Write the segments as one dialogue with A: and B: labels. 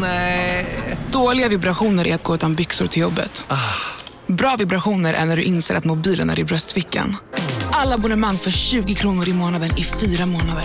A: Nej.
B: Dåliga vibrationer är att gå utan byxor till jobbet. Bra vibrationer är när du inser att mobilen är i bröstfickan. Alla abonnemang för 20 kronor i månaden i fyra månader.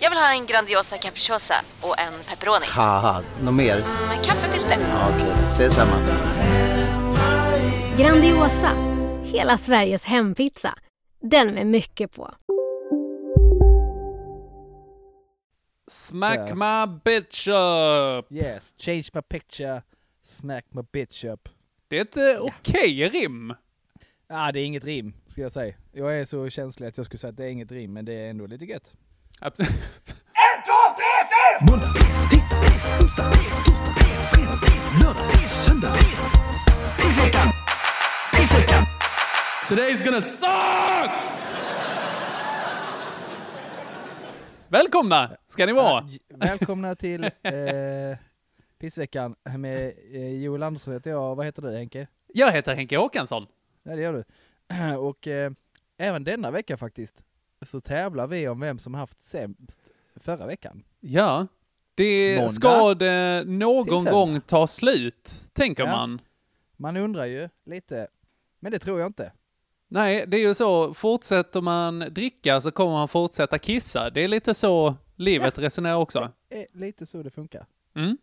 C: Jag vill ha en Grandiosa capriciosa och en pepperoni.
D: haha, något mer?
C: Med kaffefilter.
D: Ja, Okej, ses samma.
E: Grandiosa, hela Sveriges hempizza. Den med mycket på.
F: Smack
G: Ja.
F: my bitch up.
G: Yes, change my picture, smack my bitch up.
F: Det är ett eh, okej rim.
G: Ah, det är inget rim, skulle jag säga. Jag är så känslig att jag skulle säga att det är inget rim, men det är ändå lite gött.
F: Absolut.
H: Måndag, tisdag, onsdag, torsdag, fredag, lördag, söndag. I veckan, i veckan.
F: Today's gonna suck! Välkomna ska ni vara.
G: J- Välkomna till eh, pissveckan med eh, Joel Andersson heter jag, vad heter du Henke?
F: Jag heter Henke Håkansson.
G: Ja det gör du. Och eh, även denna vecka faktiskt, så tävlar vi om vem som haft sämst förra veckan.
F: Ja. Det
G: Måndag.
F: ska det någon
G: söndag.
F: gång ta slut, tänker
G: Ja.
F: man.
G: Man undrar ju lite, men det tror jag inte.
F: Nej, det är ju så. Fortsätter man dricka så kommer man fortsätta kissa. Det är lite så livet resonerar också.
G: Eh, lite så det funkar.
F: Mm.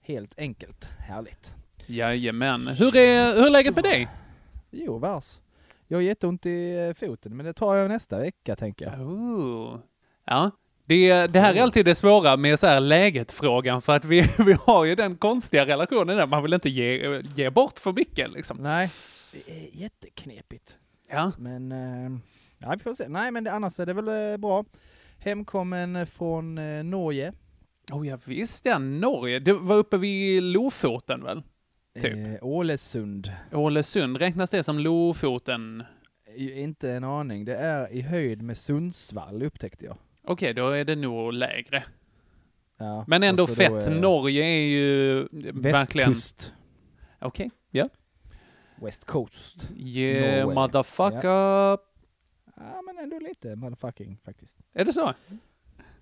G: Helt enkelt, härligt.
F: Jajamän. Hur är, hur är läget med dig?
G: Jo, vars. Jag har jätteont i eh, foten, men det tar jag nästa vecka tänker jag.
F: Ooh. Ja. Det, det här är alltid det svåra med så här läget-frågan för att vi, vi har ju den konstiga relationen där man vill inte ge, ge bort för mycket liksom.
G: Nej, det är jätteknepigt.
F: Ja.
G: Men, eh, ja, vi får se. Nej, men det, annars är det väl eh, bra. Hemkommen från eh, Norge.
F: Oh, ja visst ja, Norge. Det var uppe vid Lofoten väl? Typ.
G: Eh, Ålesund.
F: Ålesund, räknas det som Lofoten?
G: I- Inte en aning. Det är i höjd med Sundsvall upptäckte jag.
F: Okej, då är det nog lägre.
G: Ja,
F: Men ändå
G: och så då,
F: fett.
G: eh,
F: Norge är ju verkligen...
G: Västkust.
F: Okej, ja.
G: West Coast.
F: Yeah,
G: Norway.
F: motherfucker.
G: Ja, men ändå lite motherfucking faktiskt.
F: Är det så?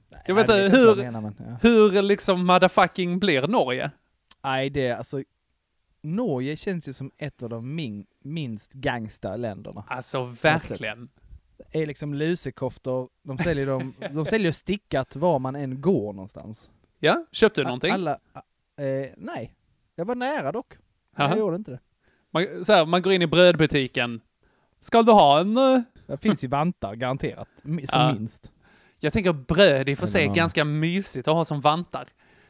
G: Nej,
F: Jag vet
G: det
F: inte,
G: vet jag
F: hur-
G: vad jag menar, men, ja.
F: Hur liksom motherfucking blir Norge?
G: Nej, det är alltså... Norge känns ju som ett av de min, minst gangsta länderna.
F: Alltså verkligen.
G: Det är liksom lusekoftor, de säljer, dem, de säljer stickat var man än går någonstans.
F: Ja, köpte du
G: A-
F: någonting?
G: Alla, a- eh, nej. Jag var nära dock. Men
F: Jaha.
G: Jag gjorde inte det.
F: Man, så här, man går in i brödbutiken. Ska du ha en... eh,
G: Det finns ju vantar, garanterat. Mi- Som
F: Ja.
G: minst.
F: Jag tänker bröd i och för
G: Eller
F: sig är
G: någon-
F: ganska mysigt att ha som vantar.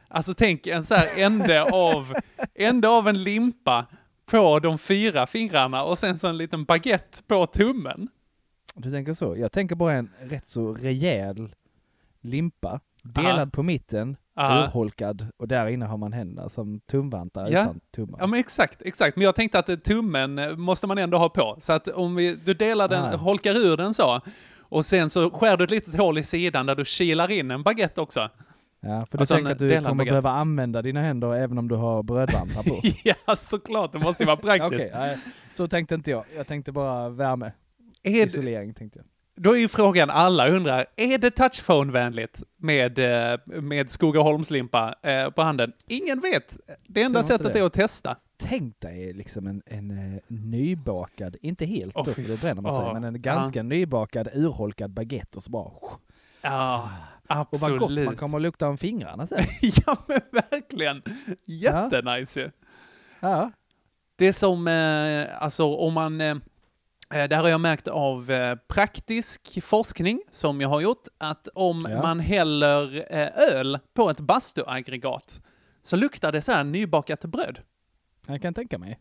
F: Alltså tänk en så här ände av, ände av en limpa på de fyra fingrarna och sen så en liten baguette på tummen.
G: Du tänker så? Jag tänker bara en rätt så rejäl limpa, delad
F: Ja.
G: på mitten,
F: Ja.
G: urholkad, och där inne har man händerna som tumvantar
F: Ja.
G: utan tummar.
F: Ja men exakt, exakt. Men jag tänkte att eh, tummen eh, måste man ändå ha på. Så att om vi, du delar den,
G: Ah.
F: holkar ur den så, och sen så skär du ett litet hål i sidan där du kilar in en baguette också.
G: Ja, för du
F: Alltså en
G: tänker att du
F: delad
G: kommer
F: baguette.
G: behöva använda dina händer även om du har brödvantar på?
F: ja såklart, det måste ju vara
G: Ja,
F: praktiskt.
G: Okej, nej, så tänkte inte jag. Jag tänkte bara värme,
F: Är det-
G: isolering tänkte jag.
F: Då är ju frågan alla undrar, är det touchphone-vänligt med, eh, med Skogaholmslimpa eh, på handen? Ingen vet. Det enda
G: Tror inte
F: sättet
G: det.
F: är att testa.
G: Tänk dig liksom en, en eh, nybakad, inte helt
F: Åh,
G: då,
F: fy
G: för det bränner man sig,
F: fan.
G: men en ganska nybakad urholkad baguette och så bara... oh, Och
F: Ja,
G: vad
F: absolut.
G: gott man kommer att lukta om fingrarna sen.
F: ja, men verkligen. Jättenice ju.
G: Ja,
F: Det är som, eh, alltså om man, eh, eh, det här har jag märkt av eh, praktisk forskning som jag har gjort, att om
G: Ja.
F: man häller eh, öl på ett bastuaggregat så luktar det så här nybakat bröd.
G: jag kan tänka mig.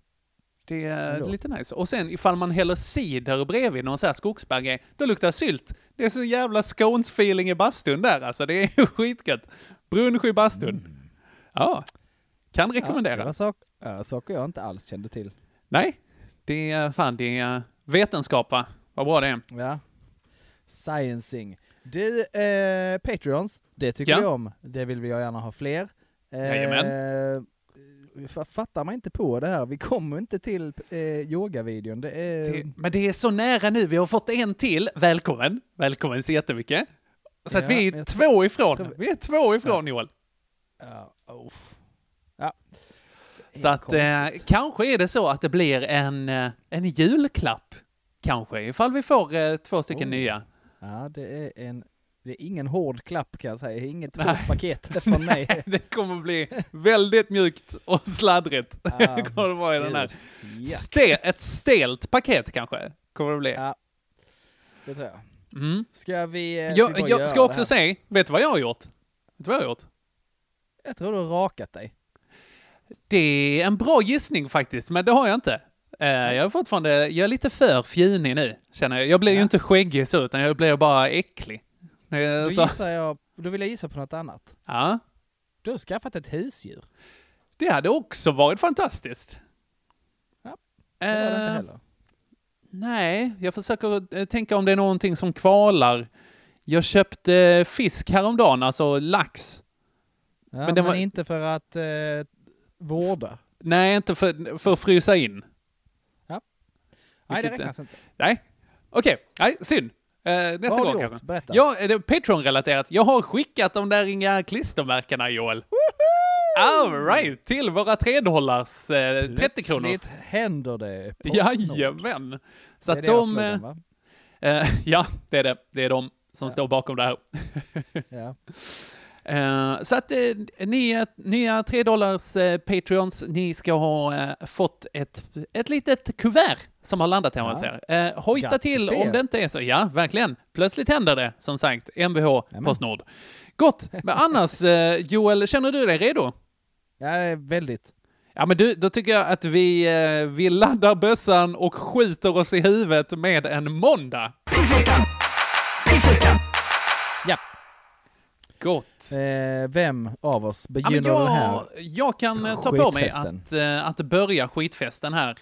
F: Det är
G: Ändå.
F: lite nice. Och sen ifall man häller cider bredvid någon så här skogsberg, då luktar det sylt. Det är så jävla scones-feeling i bastun där alltså. Det är skitgött. Brunch i bastun.
G: Mm.
F: Ja. Kan
G: Ja, det
F: rekommendera.
G: var sak, ja, saker jag inte alls kände till.
F: Nej. Det är fan, det är vetenskap va? Vad bra det är.
G: Ja. Sciencing. Du, eh, Patreons, det tycker
F: Ja.
G: vi om. Det vill vi gärna ha fler. Eh,
F: Jajamän.
G: fa- Fattar man inte på det här, vi kommer inte till eh, yogavideon. Det är...
F: Det, men det är så nära nu, vi har fått en till. Välkommen! Välkommen så jättemycket. Så att
G: Ja,
F: vi
G: men
F: är
G: jag
F: två ifrån.
G: tror-
F: Vi är två ifrån Joel.
G: Ja, oh. ja.
F: Så att eh, kanske är det så att det blir en, eh, en julklapp. Kanske, ifall vi får eh, två stycken
G: Oh.
F: nya.
G: Ja, det är en... Det är ingen hård klapp kan jag säga, Det är inget hårt paket från mig.
F: Det kommer bli väldigt mjukt och sladdrigt.
G: Ah,
F: kommer det vara i den här.
G: Ja,
F: Ste- ett stelt paket kanske, kommer det bli.
G: Ja. det tror jag.
F: Mm.
G: Ska vi... eh, vi
F: Jag,
G: bara
F: jag
G: göra
F: ska
G: det här?
F: också säga, vet du vad jag har gjort? Vet du vad jag har gjort?
G: Jag tror du har rakat dig.
F: Det är en bra gissning faktiskt, men det har jag inte. Eh, jag är fortfarande, jag är lite för fjunig nu, känner jag. Jag blir ju inte skäggig så, utan jag blir bara äcklig. Eh,
G: Då,
F: så,
G: gissar jag, då vill jag gissa på något annat.
F: ja,
G: Du har skaffat ett husdjur.
F: det hade också varit fantastiskt. Eh,
G: Ja, Det var det inte heller.
F: Nej, jag försöker eh, tänka om det är någonting som kvalar. Jag köpte fisk häromdagen, alltså lax.
G: Ja,
F: men
G: men
F: det var-
G: inte för att eh, vårda.
F: Nej, inte för, för att frysa in.
G: Nej, det
F: Vilket,
G: räknas inte.
F: Nej, okej. Nej, synd. Eh, nästa
G: Vad har
F: gång
G: du gjort?
F: kanske.
G: Berätta.
F: Ja, är det Patreon-relaterat. Jag har skickat de där inga klistermärkena, Joel. All right, till våra 3 dollars, eh, 30 kronor.
G: Plötsligt händer det. på Postnord.
F: Jajamän. Så
G: Det är
F: att de...
G: deras slogan, va?
F: eh, eh, ja, det är det. Det är de som står bakom det här.
G: Ja.
F: Eh, så att eh, ni, nya 3 dollars eh, Patreons, ni ska ha eh, fått ett, ett litet kuvert som har landat hemma hos
G: Ja.
F: er. Eh, hojta
G: Grattis
F: till
G: till
F: om
G: er.
F: det inte är så. Ja, verkligen. Plötsligt händer det, som sagt. Mvh Postnord. Gott, men annars eh, Joel, känner du dig redo?
G: ja, det är väldigt.
F: Ja, men du, då tycker jag att vi, eh, vi laddar bössan och skjuter oss i huvudet med en måndag.
G: Ja.
F: Gott.
G: Eh, vem av oss
F: Ja, men
G: begynner den
F: jag,
G: här?
F: jag kan eh, ta på mig
G: skitfesten.
F: att, eh, att börja skitfesten här.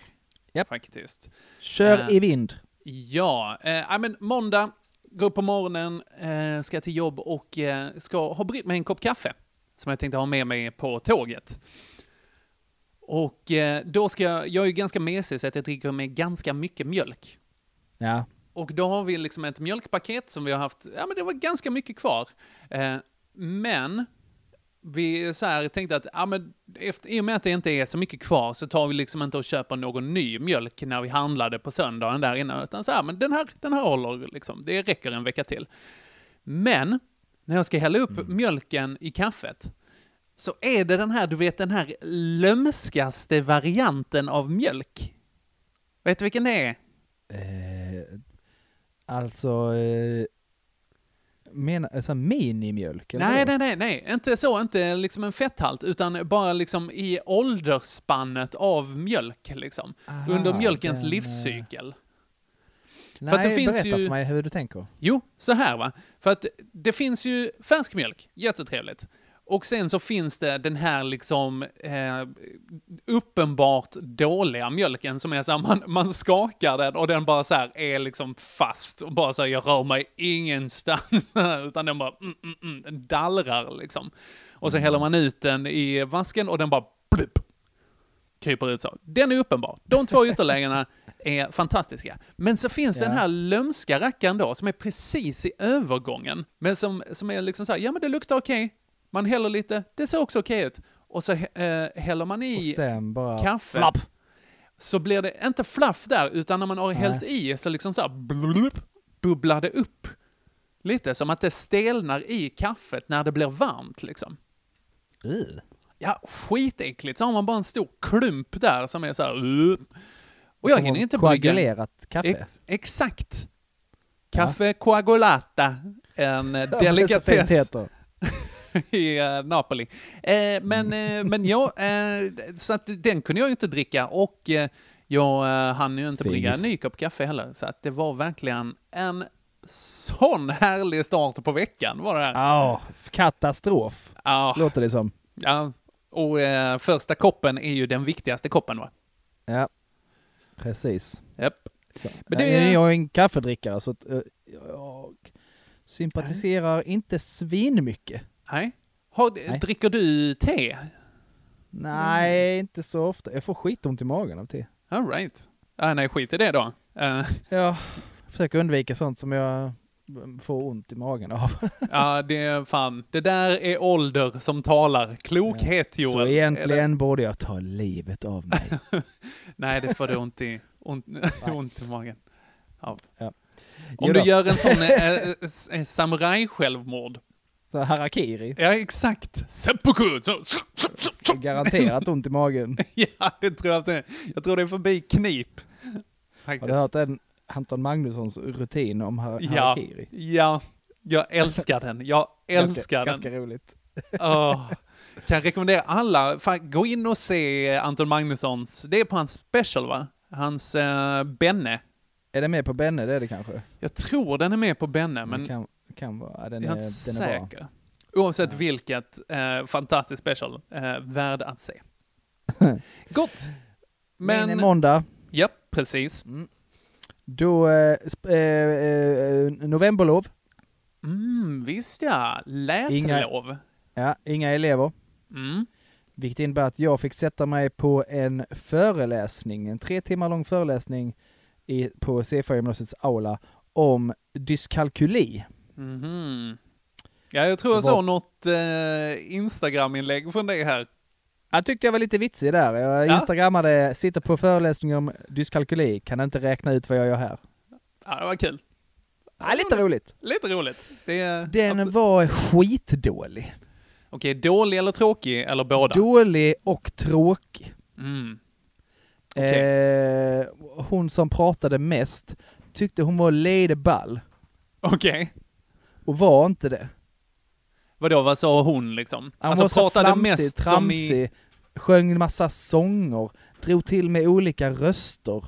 G: Japp.
F: Faktiskt.
G: Kör
F: eh,
G: i vind.
F: Ja, eh, ja, men måndag, går upp på morgonen, eh, ska till jobb och eh, ska ha brytt mig en kopp kaffe som jag tänkte ha med mig på tåget. Och eh, då ska jag, jag är ju ganska mesig så att jag dricker med ganska mycket mjölk.
G: Ja.
F: Och då har vi liksom ett mjölkpaket som vi har haft, ja men det var ganska mycket kvar. Eh, men vi så här tänkte att, ja men efter, i och med att det inte är så mycket kvar så tar vi liksom inte och köper någon ny mjölk när vi handlade på söndagen där innan. Utan så här, men den här, den här håller liksom, det räcker en vecka till. Men, när jag ska hälla upp mjölken i kaffet så är det den här, du vet den här lömskaste varianten av mjölk. Vet du vilken det är?
G: Eh, alltså... Eh, mena, alltså minimjölk? eller
F: Nej,
G: hur?
F: nej, nej, nej, inte så, inte liksom en fetthalt, utan bara liksom i åldersspannet av mjölk, liksom.
G: Aha,
F: Under mjölkens
G: den, eh,
F: livscykel.
G: nej
F: för att det finns
G: berätta
F: ju-
G: för mig hur du tänker.
F: Jo, så här va. För att det finns ju färsk mjölk, jättetrevligt. Och sen så finns det den här liksom eh, uppenbart dåliga mjölken som är så här, man, man skakar den och den bara så här är liksom fast och bara så här, jag rör mig ingenstans. Utan den bara mm, mm, mm, den dallrar liksom. Och så häller man ut den i vasken och den bara plupp, kryper ut så. Den är uppenbar. De två ytterlägena är fantastiska. Men så finns den här lömska rackaren då, som är precis i övergången, men som, som är liksom så här, ja men det luktar okej, man häller lite, det ser också okej ut. Och så eh, häller man i
G: Och sen bara...
F: kaffe.
G: Flapp.
F: Så blir det inte fluff där, utan när man har hällt i så liksom så här blulup, bubblar det upp. Lite som att det stelnar i kaffet när det blir varmt liksom.
G: Ugh.
F: Ja, skitäckligt. Så har man bara en stor klump där som är så här... "Ugh." Och jag
G: Som
F: hinner
G: har
F: inte brygga...
G: Koagulerat kaffe.
F: Ex exakt. Kaffe coagolata. En eh, delikatess
G: Finthet då.
F: i eh, Napoli. Eh, men eh, men jag, eh, så att den kunde jag ju inte dricka och eh, jag eh, hann ju inte brygga en
G: Fis.
F: ny kopp kaffe heller. Så att det var verkligen en sån härlig start på veckan var det. här.
G: Ja, katastrof
F: Ah,
G: låter det som.
F: ja. Och eh, första koppen är ju den viktigaste koppen va?
G: Ja, Precis.
F: Japp. Men
G: Men
F: det är-
G: Jag är en kaffedrickare så att eh, jag sympatiserar inte svinmycket.
F: Nej. Har,
G: Nej.
F: Dricker du te?
G: Nej, inte så ofta. Jag får skitont i magen av te.
F: All right. Ah, nej, skit i det då. Eh,
G: Jag försöker undvika sånt som jag mm, får ont i magen av.
F: Ja, det är fan. Det där är ålder som talar. Klokhet, Joel.
G: så
F: Eller-
G: egentligen borde jag ta livet av mig.
F: Nej, det får du ont i, ont, ont i magen. av.
G: Ja.
F: Om
G: Jo
F: du
G: då.
F: gör en sån eh, eh, s- eh, samuraj-självmord.
G: Så harakiri.
F: Ja, exakt. Seppuku! Så- så- så- så- så.
G: Garanterat ont i magen.
F: Ja, det tror jag att det är. Jag tror det är förbi knip.
G: Har
F: Faktiskt.
G: du hört den Anton Magnussons rutin om har
F: Ja,
G: harakiri?
F: ja, jag älskar den. Jag älskar
G: ganska,
F: den.
G: Ganska roligt.
F: Åh. Kan jag rekommendera alla, fan, gå in och se Anton Magnussons, det är på hans special va? Hans eh, Benne.
G: Är det med på Benne? Det är det kanske?
F: Jag tror den är med på Benne, men
G: det kan, kan vara. Ja, den, är,
F: jag är
G: den
F: inte
G: är bra.
F: säker. Oavsett vilket, eh, fantastisk special. Eh, värd att se. Gott!
G: Men, i
F: Men...
G: måndag,
F: Ja, precis.
G: då eh, sp- eh, eh, novemberlov.
F: Mm, visst ja. Läslov.
G: Ja, inga elever.
F: Mm.
G: Vilket innebär att jag fick sätta mig på en föreläsning, en tre timmar lång föreläsning i, på C4-gymnasiets aula om dyskalkyli.
F: Mhm. Ja, jag tror jag
G: Det var-
F: såg något eh, Instagram-inlägg från dig här.
G: Jag tyckte jag var lite vitsig där. Jag
F: Ja.
G: instagrammade, sitter på föreläsningar om dyskalkyli, kan inte räkna ut vad jag gör här.
F: Ja, det var kul.
G: Ja, lite roligt.
F: Lite roligt. Det är,
G: Den
F: absolut-
G: var skitdålig.
F: Okej, dålig eller tråkig eller båda?
G: Dålig och tråkig.
F: Mm.
G: Eh, hon som pratade mest tyckte hon var lite ball
F: Okej.
G: och var inte det.
F: Vadå, vad sa hon liksom?
G: Han
F: alltså
G: var så
F: pratade
G: flamsig,
F: mest som
G: tramsig,
F: i...
G: sjöng en massa sånger, drog till med olika röster,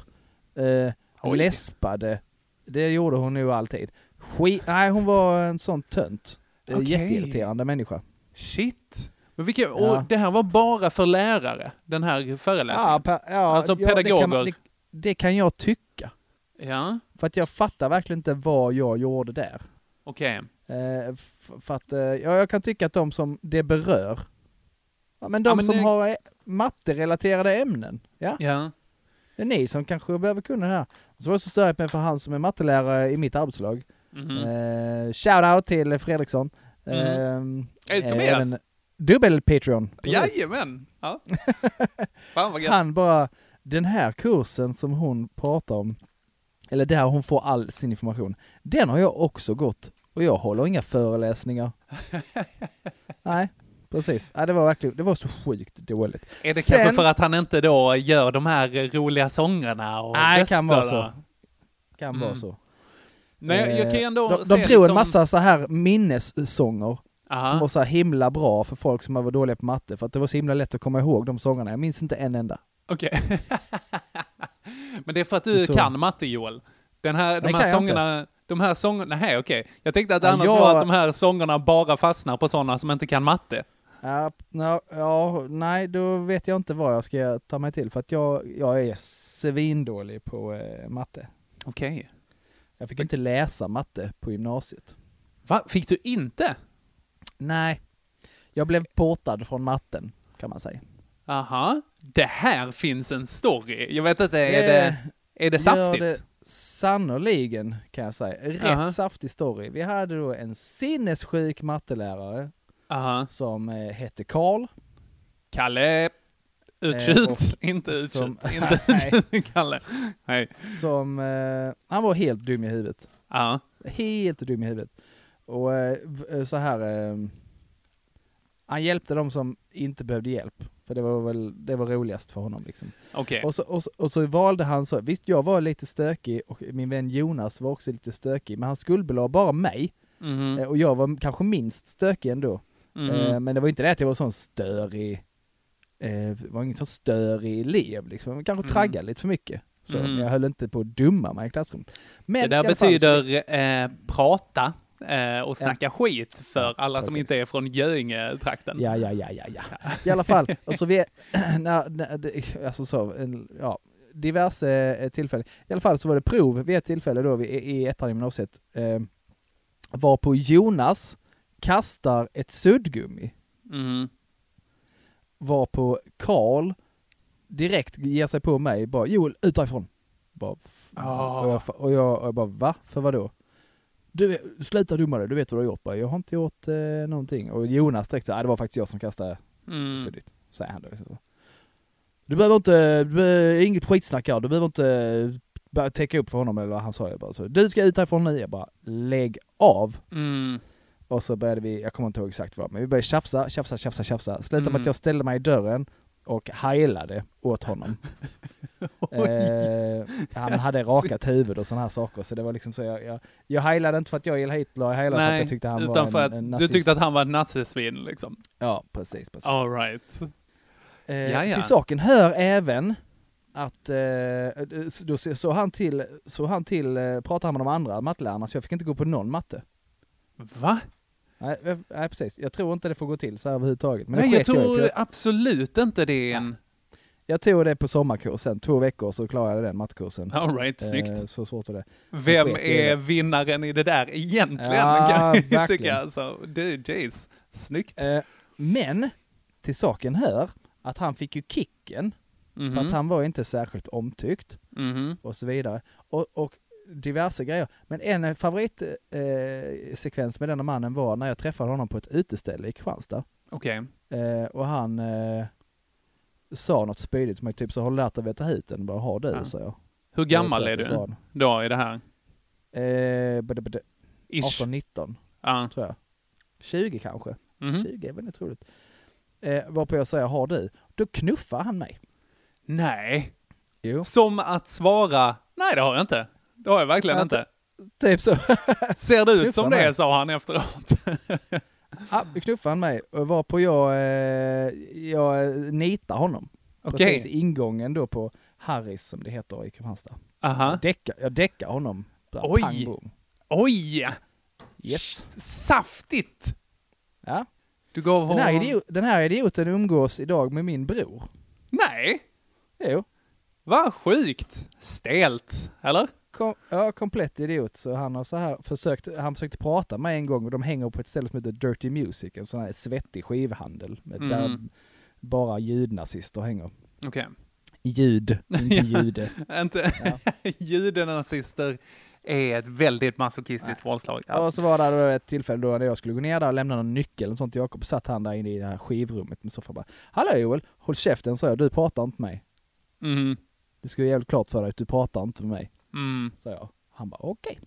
G: eh,
F: Oj.
G: läspade. Det gjorde hon nog alltid. Skit, nej, hon var en sån tönt. Eh,
F: Okej.
G: Jätteirriterande människa.
F: Shit! Men vilka,
G: Ja.
F: och det här var bara för lärare, den här föreläsningen?
G: Ja, pe- ja,
F: Alltså
G: ja, Det kan,
F: pedagoger.
G: man- det, det kan jag tycka.
F: Ja,
G: För att jag fattar verkligen inte vad jag gjorde där.
F: okej.
G: Eh, f- för att, eh, ja, jag kan tycka att de som det berör, ja, men de
F: Ja, men
G: som
F: det-
G: har eh, matterelaterade ämnen, ja,
F: Ja.
G: det är ni som kanske behöver kunna det här. Så var det så störigt med för han som är mattelärare i mitt arbetslag.
F: Mhm.
G: Eh, Shoutout till Fredriksson. Mm.
F: Är det Eh, Tobias?
G: Dubbel-Patreon. Precis.
F: Jajamän! Ja. Fan vad gött.
G: Han bara, den här kursen som hon pratar om, eller där hon får all sin information, den har jag också gått och jag håller inga föreläsningar. Nej, precis. Ja, det var verkligen, det var så sjukt dåligt.
F: Är det
G: Sen-
F: kanske för att han inte då gör de här roliga sångerna och
G: Nej, det kan vara
F: rösterna?
G: så. Kan vara så.
F: Mm. Men jag kan ju ändå
G: Eh, de,
F: se
G: de drog en
F: liksom-
G: massa så här minnessånger som var
F: Aha.
G: så här himla bra för folk som var dåliga på matte för att det var så himla lätt att komma ihåg de sångerna. Jag minns inte en enda.
F: Okej. Men det är för att du
G: Så-
F: kan matte, Joel. Den här, de
G: Nej,
F: här
G: kan jag
F: sångerna... De här sångerna... Nej, okej. Jag tänkte att det
G: Ja,
F: annars
G: jag-
F: var att de här sångerna bara fastnar på sådana som inte kan matte.
G: Ja, no, ja, nej, då vet jag inte vad jag ska ta mig till för att jag, jag är svindålig på eh, matte.
F: Okej.
G: Jag fick ju inte läsa matte på gymnasiet.
F: Va? Fick du inte?
G: Nej. Jag blev portad från matten, kan man säga.
F: Aha. Det här finns en story. Jag vet inte, är
G: Det
F: det, är det saftigt?
G: Gör det sannoliken, kan jag säga. Rätt
F: Aha.
G: saftig story. Vi hade då en sinnessjuk mattelärare
F: Aha.
G: som eh, hette Karl.
F: Kalle.
G: Eh,
F: Utkjut.
G: och-
F: inte utkjut.
G: som-
F: Inte utkjut, Kalle. Nej.
G: Som, eh, han var helt dum i huvudet.
F: Ja.
G: Helt dum i huvudet. Och eh, v- eh, så här. Eh, han hjälpte de som inte behövde hjälp. För det var väl, det var roligast för honom liksom.
F: Okej.
G: Och så, och, så, och så valde han så, visst jag var lite stökig och min vän Jonas var också lite stökig, men han skuldbelade bara mig.
F: Mhm.
G: Eh, Och jag var kanske minst stökig ändå.
F: Mhm.
G: Eh, Men det var inte det att jag var sån störig, eh, det var ingen sån störig elev liksom. Jag kanske
F: Mm.
G: traggade lite för mycket. Så,
F: Mm.
G: Men jag höll inte på att dumma mig i klassrummet. Men
F: Det
G: i
F: där
G: alla fall så-
F: betyder eh, prata eh, och snacka skit för
G: Ja,
F: alla som
G: precis.
F: inte är från Göinge-trakten.
G: Ja, ja, ja, ja, ja. I alla fall, och så vi, när, när, det- alltså så, en, ja, diverse eh, tillfällen. I alla fall så var det prov vid ett tillfälle då vi- i i ettan i gymnasiet, eh, var på Jonas kastar ett suddgummi,
F: Mm.
G: var på Karl direkt ger sig på mig, bara Joel ut därifrån. Bara,
F: Ah.
G: och, jag, och, jag, och jag bara va? För vadå? Du, sluta dumma dig, du vet vad du har gjort bara. Jag har inte gjort eh, någonting. Och Jonas direkt så, "Nej, det var faktiskt jag som kastade
F: Mm.
G: suddigt. Säger han då. liksom. Du behöver inte, du behöver, inget skitsnack här, du behöver inte eh, bara täcka upp för honom eller vad han sa. Jag bara, så, du ska ut härifrån nu. Jag bara, lägg av.
F: Mm.
G: Och så började vi, jag kommer inte ihåg exakt vad, men vi började tjafsa, tjafsa, tjafsa, tjafsa. Slutade med
F: Mm.
G: att jag ställde mig i dörren och heilade åt honom. eh, han hade rakat huvud och sådana här saker, så det var liksom så jag, jag, jag heilade inte för att jag gillade Hitler, jag heilade för att jag tyckte han
F: utan
G: var
F: för
G: en,
F: att
G: en
F: du
G: nazist.
F: tyckte att han var ett nazisvin liksom.
G: Ja, precis, precis.
F: All right.
G: Eh,
F: Jaja.
G: Till saken hör även att eh, då så- så han till, så han till, eh, pratade han med de andra mattelärarna så jag fick inte gå på någon matte.
F: Va?
G: Nej, eh, nej precis, jag tror inte det får gå till så här överhuvudtaget. Men
F: Nej,
G: det
F: jag
G: sket jag, i, för
F: tror
G: jag,
F: absolut inte det är en...
G: jag tog det på sommarkurs sen, två veckor så klarade jag den mattekursen.
F: All right, snyggt.
G: Eh, så svårt var det.
F: Vem
G: sket jag i
F: är
G: det.
F: vinnaren i det där egentligen?
G: Ja,
F: kan jag ju
G: verkligen.
F: tycka. Alltså, du, jeez. Snyggt.
G: Eh, men till saken hör att han fick ju kicken för
F: Mhm.
G: att han var inte särskilt omtyckt.
F: Mhm.
G: och så vidare. Och, och diverse grejer. Men en favoritsekvens eh, sekvens med denna mannen var när jag träffade honom på ett uteställe i Kristianstad.
F: Okej.
G: Eh, och han eh, sa något spydigt som jag typ så har du lärt dig veta huten? Bara har du?
F: Ja.
G: sa jag.
F: Hur gammal är
G: Jag tror
F: du
G: att jag
F: då i det här?
G: sa det. Eh, bada, bada,
F: Ish.
G: 18-19
F: Ja.
G: tror jag. 20 kanske.
F: Mhm.
G: 20 är väl inte roligt. Eh, varpå jag säger har du? Då knuffar han mig.
F: Nej.
G: Jo.
F: Som att svara, nej det har jag inte. Det har jag verkligen
G: Jag har
F: inte.
G: Typ så.
F: Ser det
G: Knuffa
F: ut som det,
G: mig.
F: sa han efteråt.
G: ah, då knuffar han mig. Och varpå jag, eh, jag eh, nitar honom.
F: Okej.
G: Precis i ingången då på Harris som det heter i Kristianstad.
F: Aha.
G: Däcka, jag däckar honom. Där,
F: Ah. Oj.
G: Pang, boom.
F: Oj!
G: Yes.
F: Saftigt!
G: Ja.
F: Du gav
G: Den,
F: honom...
G: här idio- den här idioten umgås idag med min bror.
F: Nej!
G: Jo,
F: Vad sjukt! Stelt, eller?
G: kom, ja, komplett idiot. Så han har så här försökt, han försökte prata med mig en gång och de hänger på ett ställe som heter Dirty Music, en sån här svettig skivhandel. Med,
F: Mm.
G: Där bara ljudnazister hänger.
F: Okej.
G: Ljud, inte jude.
F: Inte... Judenazister är ett väldigt masochistiskt våldslag.
G: Ja.
F: Ja.
G: Och så var det då ett tillfälle då när jag skulle gå ner där och lämna någon nyckel och sånt till Jakob, satt han där inne i det här skivrummet med soffan bara Hallå Joel, håll käften sa jag, du pratar inte med mig.
F: Mm.
G: Det ska ju jävligt klart för dig att du pratar inte med mig,
F: Mm.
G: sa jag. Han bara okej.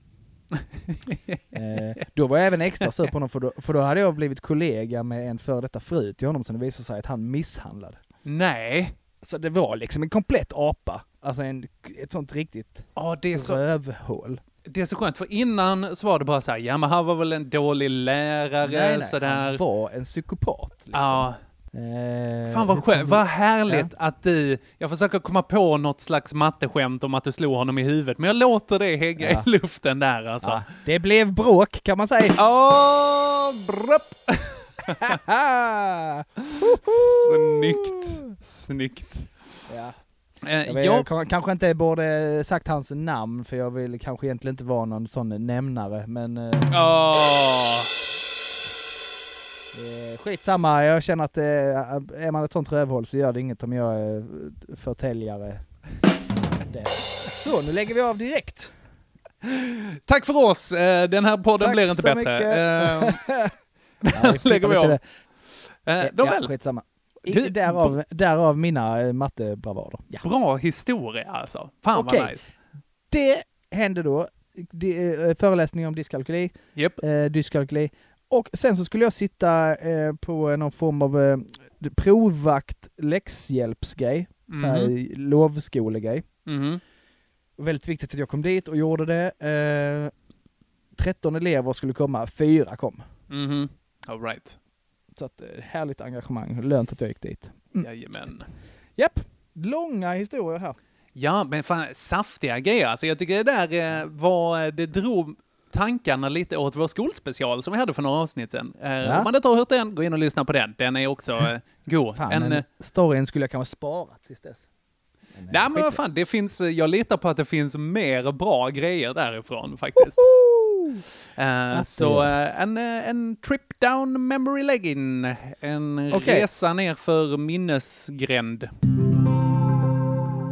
G: eh, då var jag även extra sur på honom för då, för då hade jag blivit kollega med en före detta fru till honom som det visade sig att han misshandlade.
F: Nej!
G: Så det var liksom en komplett apa, alltså en, ett sånt riktigt
F: Ja, det är så
G: rövhål.
F: Det är så skönt, för innan så var det bara så här, ja men han var väl en dålig lärare, sådär.
G: han var en psykopat. Liksom.
F: Ja,
G: Eh,
F: fan vad skönt, vad härligt att du, jag försöker komma på något slags matteskämt om att du slog honom i huvudet, men jag låter det hänga
G: Ja.
F: i luften där alltså.
G: Ja, det blev bråk kan man säga.
F: Åh, brupp.
G: Haha!
F: Snyggt, snyggt.
G: ja.
F: Eh,
G: jag, vet,
F: jag,
G: jag kan- kanske inte borde sagt hans namn för jag vill kanske egentligen inte vara någon sån nämnare men eh,
F: Åh.
G: eh, skitsamma jag känner att eh, är man ett sånt rövhål så gör det inget om jag eh, förtäljare. det. Så nu lägger vi av direkt.
F: Tack för oss, Eh, den här podden
G: Tack
F: blir inte
G: så
F: bättre.
G: mycket.
F: Eh,
G: Ja, vi
F: lägger vi
G: flyttar
F: av.
G: lite
F: eh,
G: det.
F: Nåväl,
G: Ja, skitsamma. I,
F: Du-
G: därav, därav mina eh, mattebravader. Ja.
F: bra historia alltså. Fan vad
G: Okej.
F: nice.
G: Det hände då. Det, eh, föreläsning om dyskalkyli.
F: Japp.
G: eh, dyskalkyli. Och sen så skulle jag sitta eh, på någon form av eh, provvakt läxhjälpsgrej, så här
F: Mhm.
G: lovskolegrej.
F: Mhm.
G: Väldigt viktigt att jag kom dit och gjorde det. Eh, 13 elever skulle komma, fyra kom.
F: Mhm. All right.
G: Så att, eh, härligt engagemang, lönt att jag gick dit.
F: Jajamän.
G: Japp, långa historier här.
F: Ja, men fan, saftiga grejer. Alltså, jag tycker det där eh, var, det drog tankarna lite åt vår skolspecial som vi hade för några avsnitt sedan. Eh,
G: Ja.
F: Om man inte har hört den, gå in och lyssna på den. Den är också eh, god.
G: Fan,
F: en,
G: men
F: eh,
G: storyn skulle jag kanske spara tills dess.
F: Nej men vad fan, det finns, eh, jag litar på att det finns mer bra grejer därifrån faktiskt. Eh, så eh, en, eh, en trip down memory lane, en
G: Okej.
F: resa ner för minnesgränd.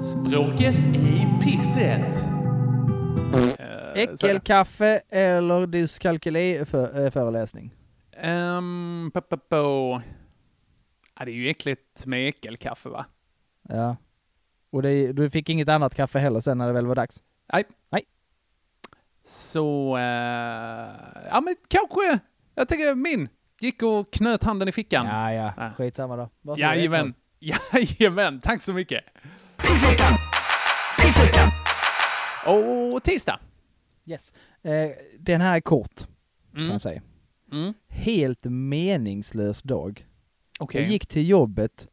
F: Språket i pisset. Eh,
G: Äckelkaffe eller eh, dyskalkyliföreläsning?
F: Um, pa, pa, pa. Ja, det är ju äckligt med äckelkaffe va?
G: Ja. Och det, du fick inget annat kaffe heller sen när det väl var dags?
F: Nej.
G: Nej.
F: Så, eh, ja men kanske, jag tänker min, gick och knöt handen i fickan.
G: Ja, ja.
F: Mm. Ja.
G: Skitsamma då. Varsågod,
F: Jajamän. Jajamän, tack så mycket. Och tisdag.
G: Yes. Eh, den här är kort, kan jag säga.
F: Mm.
G: Helt meningslös dag.
F: Okej.
G: Jag gick till jobbet,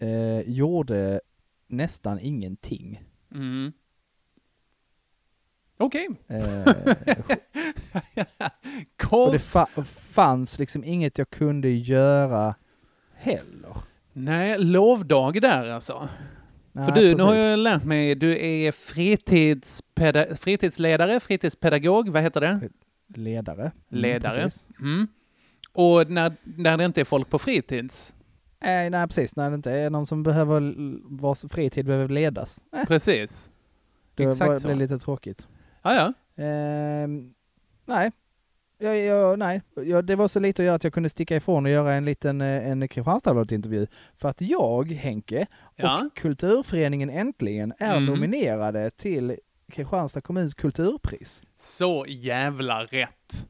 G: eh, gjorde nästan ingenting.
F: Mm. Okej.
G: Eh, och
F: Kort.
G: det fa- fanns liksom inget jag kunde göra heller.
F: Nej, lovdag där alltså.
G: Nej,
F: För du, nu har
G: precis.
F: jag lärt mig, du är fritidspeda- fritidsledare, fritidspedagog, vad heter det?
G: Ledare. Mm,
F: Ledare.
G: precis.
F: Mm. Och när, när det inte är folk på fritids,
G: Eh, nej, precis. När det inte är någon som behöver, l- vars fritid behöver ledas. Eh,
F: precis.
G: då
F: exakt
G: var-
F: så.
G: blir det lite tråkigt.
F: Ja, ja.
G: Ehm, nej. Jag, jag, nej. Jag, det var så lite att göra att jag kunde sticka ifrån och göra en liten eh, en Kristianstadsbladet-intervju. För att jag, Henke,
F: Ja.
G: och Kulturföreningen Äntligen är
F: Mm.
G: nominerade till Kristianstad kommuns kulturpris.
F: Så jävla rätt.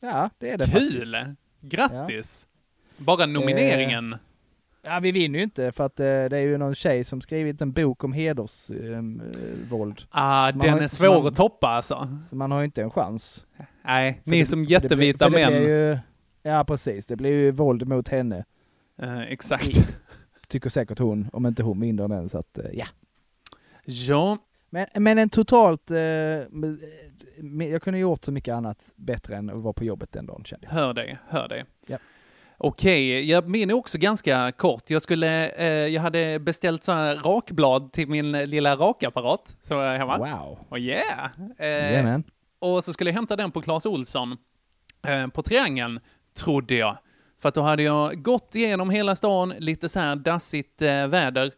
G: Ja, det är det faktiskt.
F: Kul! Grattis! Bara
G: Eh,
F: nomineringen.
G: Ja, vi vinner ju inte för att eh, det är ju någon tjej som skrivit en bok om ehm, hedersvåld.
F: ah,
G: man
F: den
G: har
F: är
G: inte-
F: svår
G: man-
F: att toppa alltså.
G: så man har ju inte en chans.
F: Nej,
G: För
F: ni
G: det-
F: som
G: för det blir-
F: jättevita
G: för det
F: män.
G: blir ju- Ja, precis. Det blir ju våld mot henne,
F: Eh, exakt.
G: Mm. tycker säkert hon, om inte hon vinner den. Så att, eh, ja.
F: Ja,
G: Men, men en totalt... Eh, men- men jag kunde gjort så mycket annat bättre än att vara på jobbet den dagen, kände jag.
F: hör dig, hör dig.
G: Ja.
F: Okej, ja, min är också ganska kort. Jag, skulle, eh, jag hade beställt så här rakblad till min lilla rakapparat som jag har hemma.
G: Wow!
F: Och yeah! Eh,
G: Jajamän.
F: Och så skulle jag hämta den på Clas Olsson eh, på Triangeln, trodde jag. För att då hade jag gått igenom hela stan, lite så här dassigt eh, väder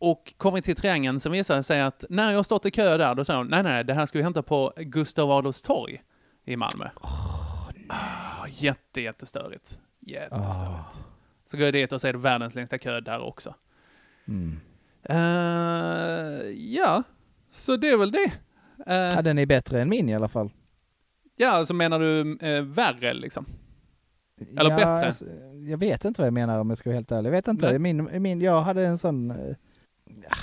F: och kommit till Triangeln som visade det sig att när jag stått i kö där, då sa de nej, nej, det här ska vi hämta på Gustav Adolfs torg i Malmö. Ah, jätte, jättestörigt. Jättestörigt. Så går jag dit och ser världens längsta kö där också.
G: Mm.
F: Eh, ja, så det är väl det. Eh,
G: Ja, den är bättre än min i alla fall.
F: Ja, alltså menar du eh, värre liksom? Eller
G: ja,
F: bättre.
G: alltså, jag vet inte vad jag menar om jag ska vara helt ärlig. Jag vet
F: Nej.
G: inte. Min, min, jag hade en sån... eh, ja,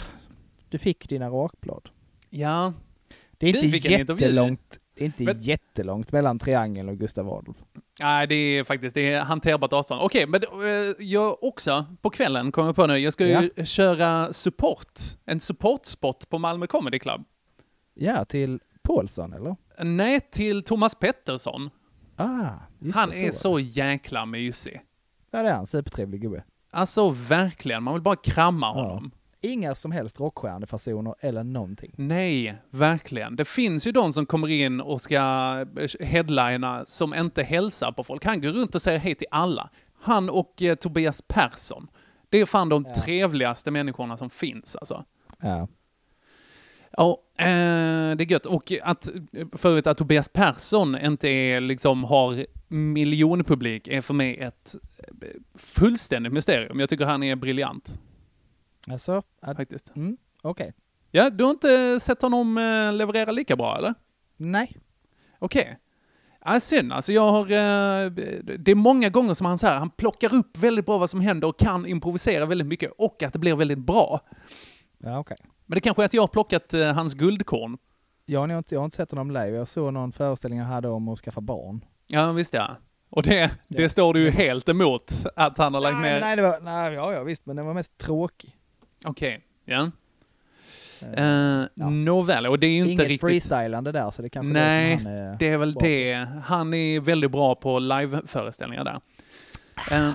G: Du fick dina rakblad.
F: Ja.
G: Det är
F: Du fick
G: inte
F: en intervju.
G: jättelångt, det är inte
F: Men-
G: jättelångt mellan Triangeln och Gustav Adolf.
F: Nej, det är faktiskt det är hanterbart avstånd. Okej, men eh, jag också, på kvällen kom jag på nu, jag ska ju köra support, en supportspot på Malmö Comedy Club.
G: Ja, till Paulsson eller?
F: Nej, till Thomas Pettersson.
G: Ah, just
F: Han
G: det,
F: är
G: var
F: så jäkla mysig.
G: det. Ja, det är han. Supertrevlig gubbe.
F: Alltså verkligen, man vill bara krama honom.
G: Inga som helst rockstjärnefasoner eller någonting.
F: Nej, verkligen. Det finns ju de som kommer in och ska eh, headlina som inte hälsar på folk. Han går runt och säger hej till alla. Han och eh, Tobias Persson. Det är fan de trevligaste människorna som finns alltså.
G: Ja.
F: Ja, eh, det är gött. Och att, förut att Tobias Persson inte är, liksom, har miljonpublik är för mig ett eh, fullständigt mysterium. Jag tycker han är briljant,
G: Alltså, ja,
F: faktiskt.
G: mm, okej.
F: Ja, du har inte sett honom eh, leverera lika bra, eller?
G: Nej.
F: Okej. Ja, synd. Alltså jag har, eh, det är många gånger som han så här, han plockar upp väldigt bra vad som händer och kan improvisera väldigt mycket och att det blir väldigt bra.
G: Ja, okej.
F: Men det kanske är att jag har plockat eh, hans guldkorn.
G: Jag, har nog inte- jag har inte sett honom live. Jag såg någon föreställning han hade om att skaffa barn.
F: Ja, visst ja. Och det, det står du ju helt emot att han har lagt
G: nej,
F: ner.
G: nej, det var, nej, ja, ja, visst, men den var mest tråkig.
F: Okej, ja. Eh, Nåväl, och det är ju inte
G: Inget
F: riktigt...
G: freestylande där, så det kanske är
F: Nej,
G: som han, eh,
F: det är väl
G: bra på.
F: det. Han är väldigt bra på live-föreställningar där. Eh,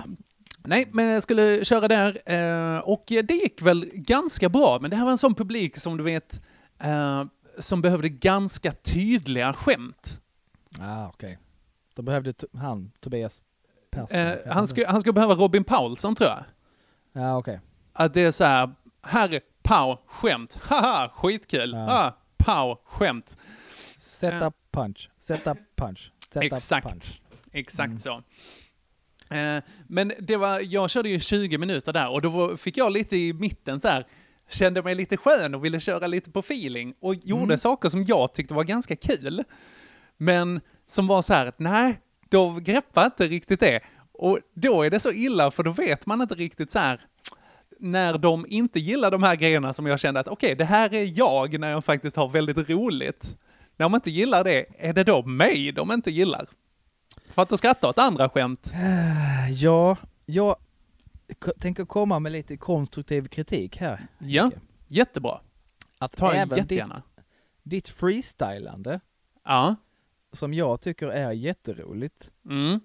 F: Nej, men jag skulle köra där eh, och det gick väl ganska bra. Men det här var en sån publik som du vet, eh, som behövde ganska tydliga skämt.
G: Ah, okej. Då behövde t- han, Tobias Persson.
F: Eh,
G: Jag
F: han,
G: vet inte.
F: skulle, han skulle behöva Robin Paulsson tror jag.
G: Ja, okej.
F: Att det är så här, här, pow, skämt, haha, skitkul,
G: Ja.
F: ah, pow, skämt.
G: Sätta punch, sätta punch, sätta
F: Exakt.
G: punch. Mm.
F: Exakt så. Eh, men det var, jag körde ju 20 minuter där och då var, fick jag lite i mitten så här, kände mig lite skön och ville köra lite på feeling och gjorde
G: Mm.
F: saker som jag tyckte var ganska kul. Men som var så här, nej, då greppar jag inte riktigt det. Och då är det så illa för då vet man inte riktigt så här, när de inte gillar de här grejerna som jag kände att okej, det här är jag när jag faktiskt har väldigt roligt. När de inte gillar det, är det då mig de inte gillar? För att de skrattar åt andra skämt.
G: Eh, Ja, jag k- tänker komma med lite konstruktiv kritik här.
F: Ja, jättebra.
G: Att
F: Ta den
G: även
F: jättegärna.
G: Ditt, ditt freestylande,
F: Ja.
G: som jag tycker är jätteroligt,
F: Mm.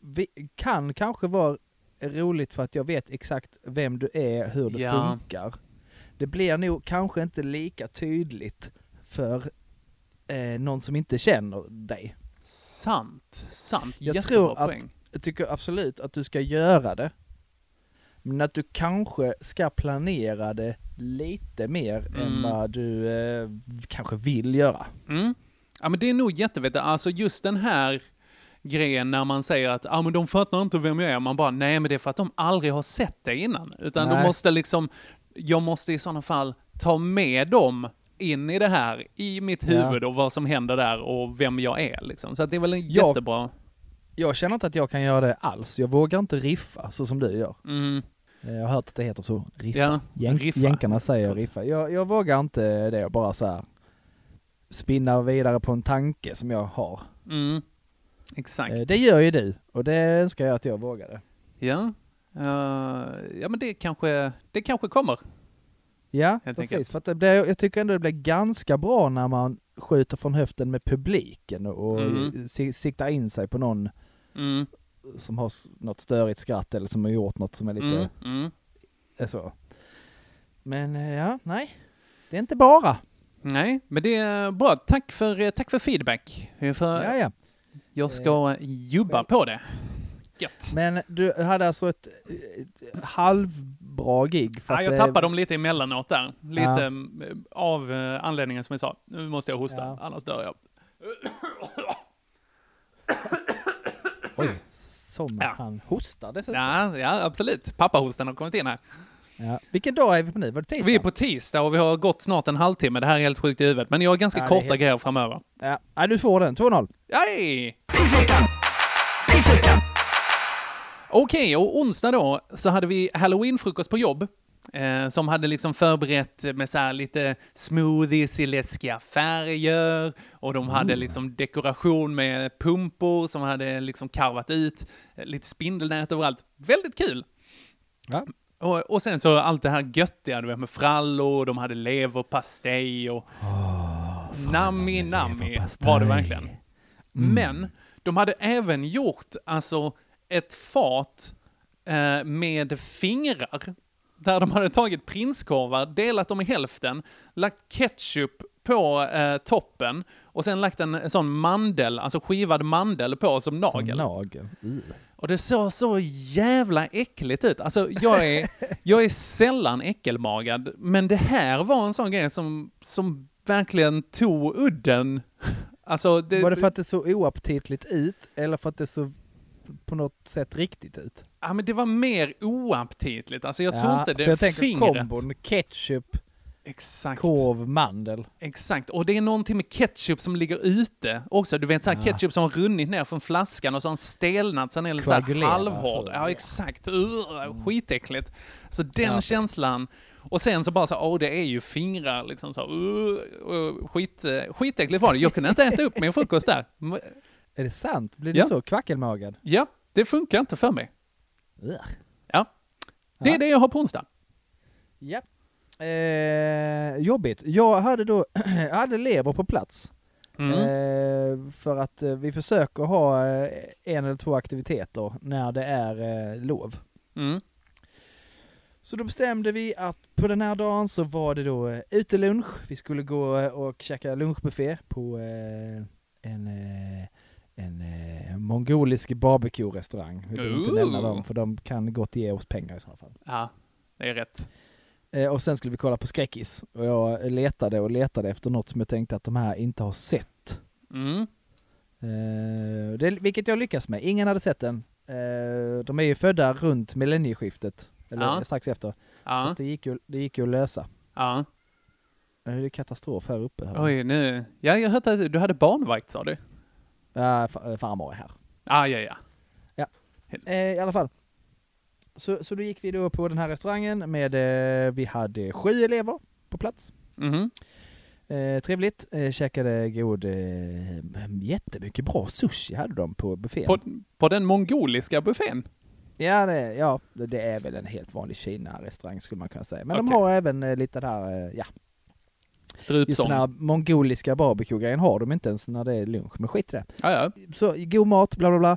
G: vi- kan kanske vara roligt för att jag vet exakt vem du är, hur det
F: Ja.
G: funkar. Det blir nog kanske inte lika tydligt för eh, någon som inte känner dig.
F: Sant, sant.
G: Jag
F: jättebra
G: tror att-
F: poäng.
G: Jag tycker absolut att du ska göra det. Men att du kanske ska planera det lite mer än
F: Mm.
G: vad du eh, kanske vill göra.
F: Mm. Ja, men det är nog jättevettigt. Alltså just den här grejen när man säger att ah, men de fattar inte vem jag är. Man bara, nej men det är för att de aldrig har sett det innan. Utan de
G: Nej.
F: måste liksom, jag måste i sådana fall ta med dem in i det här, i mitt
G: Ja.
F: huvud och vad som händer där och vem jag är. Liksom. Så att det är väl en
G: Jag-
F: jättebra...
G: Jag känner inte att jag kan göra det alls. Jag vågar inte riffa så som du gör.
F: Mm,
G: Eh, Jag har hört att det heter så. Riffa.
F: ja,
G: Jänk,
F: riffa.
G: Jänkarna säger
F: Klart.
G: riffa. Jag, jag vågar inte det, bara så här spinna vidare på en tanke som jag har.
F: Mm, exakt.
G: Eh, Det gör ju du och det önskar jag att jag vågade.
F: Ja. Eh, ja, men det kanske, det kanske kommer.
G: Ja,
F: Helt
G: precis.
F: enkelt.
G: För att det blir, jag tycker ändå det blir ganska bra när man skjuter från höften med publiken och
F: Mm.
G: si- siktar in sig på någon
F: Mm,
G: som har s- något störigt skratt eller som har gjort något som är lite
F: mm, mm.
G: eh, så. Men eh, ja, nej. Det är inte bara.
F: Nej, men det är bra. Tack för, eh, tack för feedback. För
G: Ja, Eh, ja.
F: Jag ska jobba på det. Gött.
G: Men du hade alltså ett, ett halvbra gig? För
F: Ja,
G: att
F: jag
G: det-
F: tappade dem lite emellanåt där. Lite
G: Ja.
F: mm, av eh, anledningen som jag sa. Nu måste jag hosta,
G: Ja.
F: annars dör jag.
G: Oj, som
F: Ja.
G: han hostade. Så.
F: Ja, ja absolut. Pappahostan har kommit in här.
G: Ja. Vilken dag är vi på nu? Var det tisdag?
F: Vi är på tisdag och vi har gått snart en halvtimme. Det här är helt sjukt i huvudet. Men jag har ganska
G: Ja, det är
F: korta
G: helt-
F: grejer framöver.
G: ja. Nej, du får den. 2-0.
F: Hej! Okej, och onsdag då så hade vi halloweenfrukost på jobb. Eh, som hade liksom förberett med så här lite smoothies i läskiga färger och de hade liksom dekoration med pumpor som hade liksom karvat ut, eh, lite spindelnät överallt. Väldigt kul!
G: Ja.
F: Och, och sen så allt det här göttiga, du vet med frallor, de hade leverpastej och... nami nami var det verkligen. Men de hade även gjort alltså ett fat eh, med fingrar. Där de hade tagit prinskorvar, delat dem i hälften, lagt ketchup på eh, toppen och sen lagt en, en sån mandel, alltså skivad mandel på som
G: Som
F: nagel.
G: Nagel. I.
F: Och det såg så jävla äckligt ut. Alltså jag är, jag är sällan äckelmagad, men det här var en sån grej som, som verkligen tog udden. Alltså det,
G: Var det för att det såg oaptitligt ut eller för att det såg på något sätt riktigt ut?
F: ja, men det var mer oaptitligt. Alltså jag tror inte det
G: för jag tänker
F: fingret.
G: kombon ketchup,
F: Exakt.
G: korv, mandel.
F: Exakt. Och det är någonting med ketchup som ligger ute också. Du vet så här ketchup som har runnit ner från flaskan och så har den stelnat så den är lite så här
G: Koagulerar,
F: halvhård.
G: tror jag.
F: Ja, exakt. Ur, skitäckligt. Så den känslan. Och sen så bara så, åh det är ju fingrar liksom så, uh, uh, skit, eh, skitäckligt var det. Jag kunde inte äta upp min frukost där. M-
G: Är det sant? Blir du
F: Ja.
G: så kvackelmagad?
F: Ja, det funkar inte för mig.
G: Ugh.
F: Ja. Det är
G: Ja.
F: det jag har på onsdag.
G: Ja. Eh, jobbigt. Jag hade då, jag hade lever på plats.
F: Mm.
G: Eh, för att eh, vi försöker ha eh, en eller två aktiviteter när det är eh, lov.
F: Mm.
G: Så då bestämde vi att på den här dagen så var det då eh, utelunch. Vi skulle gå eh, och käka lunchbuffé på eh, en, eh, en eh, mongolisk barbecue-restaurang. Vi behöver inte
F: Ooh.
G: nämna dem för de kan gott ge oss pengar i så fall.
F: Ja, det är rätt.
G: Eh, och sen skulle vi kolla på skräckis. Och jag letade och letade efter något som jag tänkte att de här inte har sett.
F: Mm.
G: Eh, det, vilket jag lyckas med. Ingen hade sett den. Eh, de är ju födda runt millennieskiftet. Eller
F: Ja.
G: strax efter. Så
F: Ja,
G: att det, gick ju, det gick ju att lösa.
F: ja.
G: Nu är det katastrof här uppe. Här.
F: Oj, nu. Ja, jag hörde att du hade barnvakt sa du.
G: Ja, fa- eh, farmor är här.
F: Ah, ja, ja.
G: Eh, I alla fall. Så, så då gick vi då på den här restaurangen med, eh, vi hade sju elever på plats.
F: Mhm.
G: Eh, trevligt. Eh, käkade god, eh, jättemycket bra sushi hade de på buffén.
F: På, på den mongoliska buffén?
G: Ja, det, ja, det- det är väl en helt vanlig Kina-restaurang skulle man kunna säga. Men de
F: Okej.
G: har även eh, lite där, eh, ja, just
F: Strupsång.
G: den här mongoliska barbecue-grejen har de inte ens när det är lunch, men skit i det.
F: Ja, ja.
G: Så god mat, bla bla bla.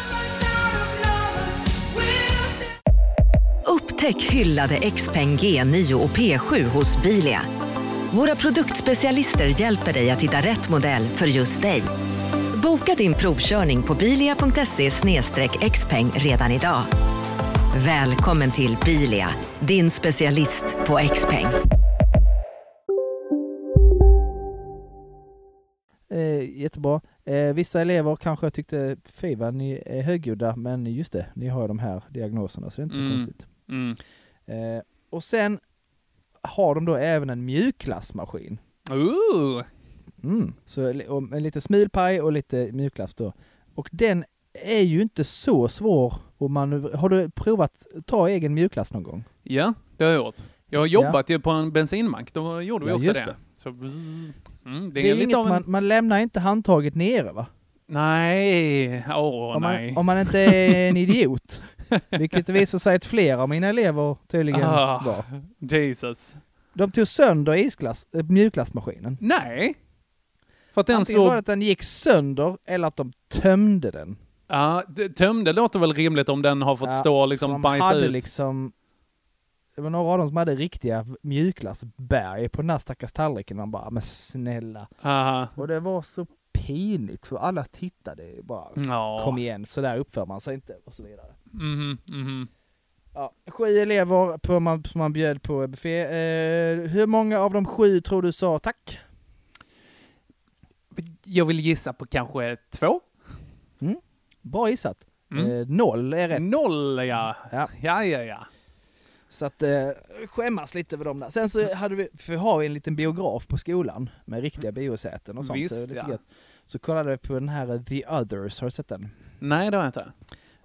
I: Upptäck hyllade XPeng G9 och P7 hos Bilia. Våra produktspecialister hjälper dig att hitta rätt modell för just dig. Boka din provkörning på bilia.se xpeng redan idag. Välkommen till Bilia, din specialist på XPeng.
G: Eh, jättebra. Eh, vissa elever kanske tyckte, fy vad ni är högljudda, men just det, ni har ju de här diagnoserna så det är inte
F: Mm.
G: så konstigt.
F: Mm.
G: Eh, och sen har de då även en mjukglassmaskin.
F: Ooh.
G: Mm. Så li- och med lite smulpaj och lite mjukglass då. Och den är ju inte så svår om man, har du provat ta egen mjukglass någon gång?
F: Ja, det har jag gjort. Jag har
G: Ja.
F: jobbat ju på en bensinmack, då gjorde vi
G: Ja,
F: också
G: just
F: det.
G: det.
F: Så, mm, det,
G: Det är
F: är
G: ju
F: lite
G: inget,
F: av en...
G: man, man lämnar inte handtaget nere va?
F: Nej, åh
G: om,
F: nej.
G: man, om man inte är en idiot. Vilket det visar sig att flera av mina elever tydligen
F: Ah.
G: var.
F: Jesus.
G: De tog sönder isglass, äh, mjukglassmaskinen.
F: Mm. Nej! För att den
G: Antingen var det
F: slog...
G: att den gick sönder eller att de tömde den.
F: Ja, det... tömde låter väl rimligt om den har fått
G: Ja,
F: stå och
G: För
F: liksom
G: de
F: bajsa
G: hade
F: ut.
G: liksom... Det var några av dem som hade riktiga mjukglassberg på den här stackars tallriken. Man bara, men snälla.
F: Aha.
G: Och det var så pinligt för alla tittade bara,
F: Ja.
G: kom igen, så där uppför man sig inte och så vidare.
F: Mhm, mhm.
G: Ja, sju elever på man, som man bjöd på buffé. Eh, hur många av de sju tror du sa tack?
F: Jag vill gissa på kanske två?
G: Bra gissat.
F: Mm.
G: Eh, noll är rätt.
F: Noll, ja.
G: Ja.
F: Ja, ja, ja.
G: Så att eh, skämmas lite över dem där. Sen så hade vi, för har vi en liten biograf på skolan med riktiga biosäten och sånt.
F: Visst,
G: så, det
F: ja.
G: gött. så kollade vi på den här eh, The Others, har du sett den?
F: Nej, det har jag inte.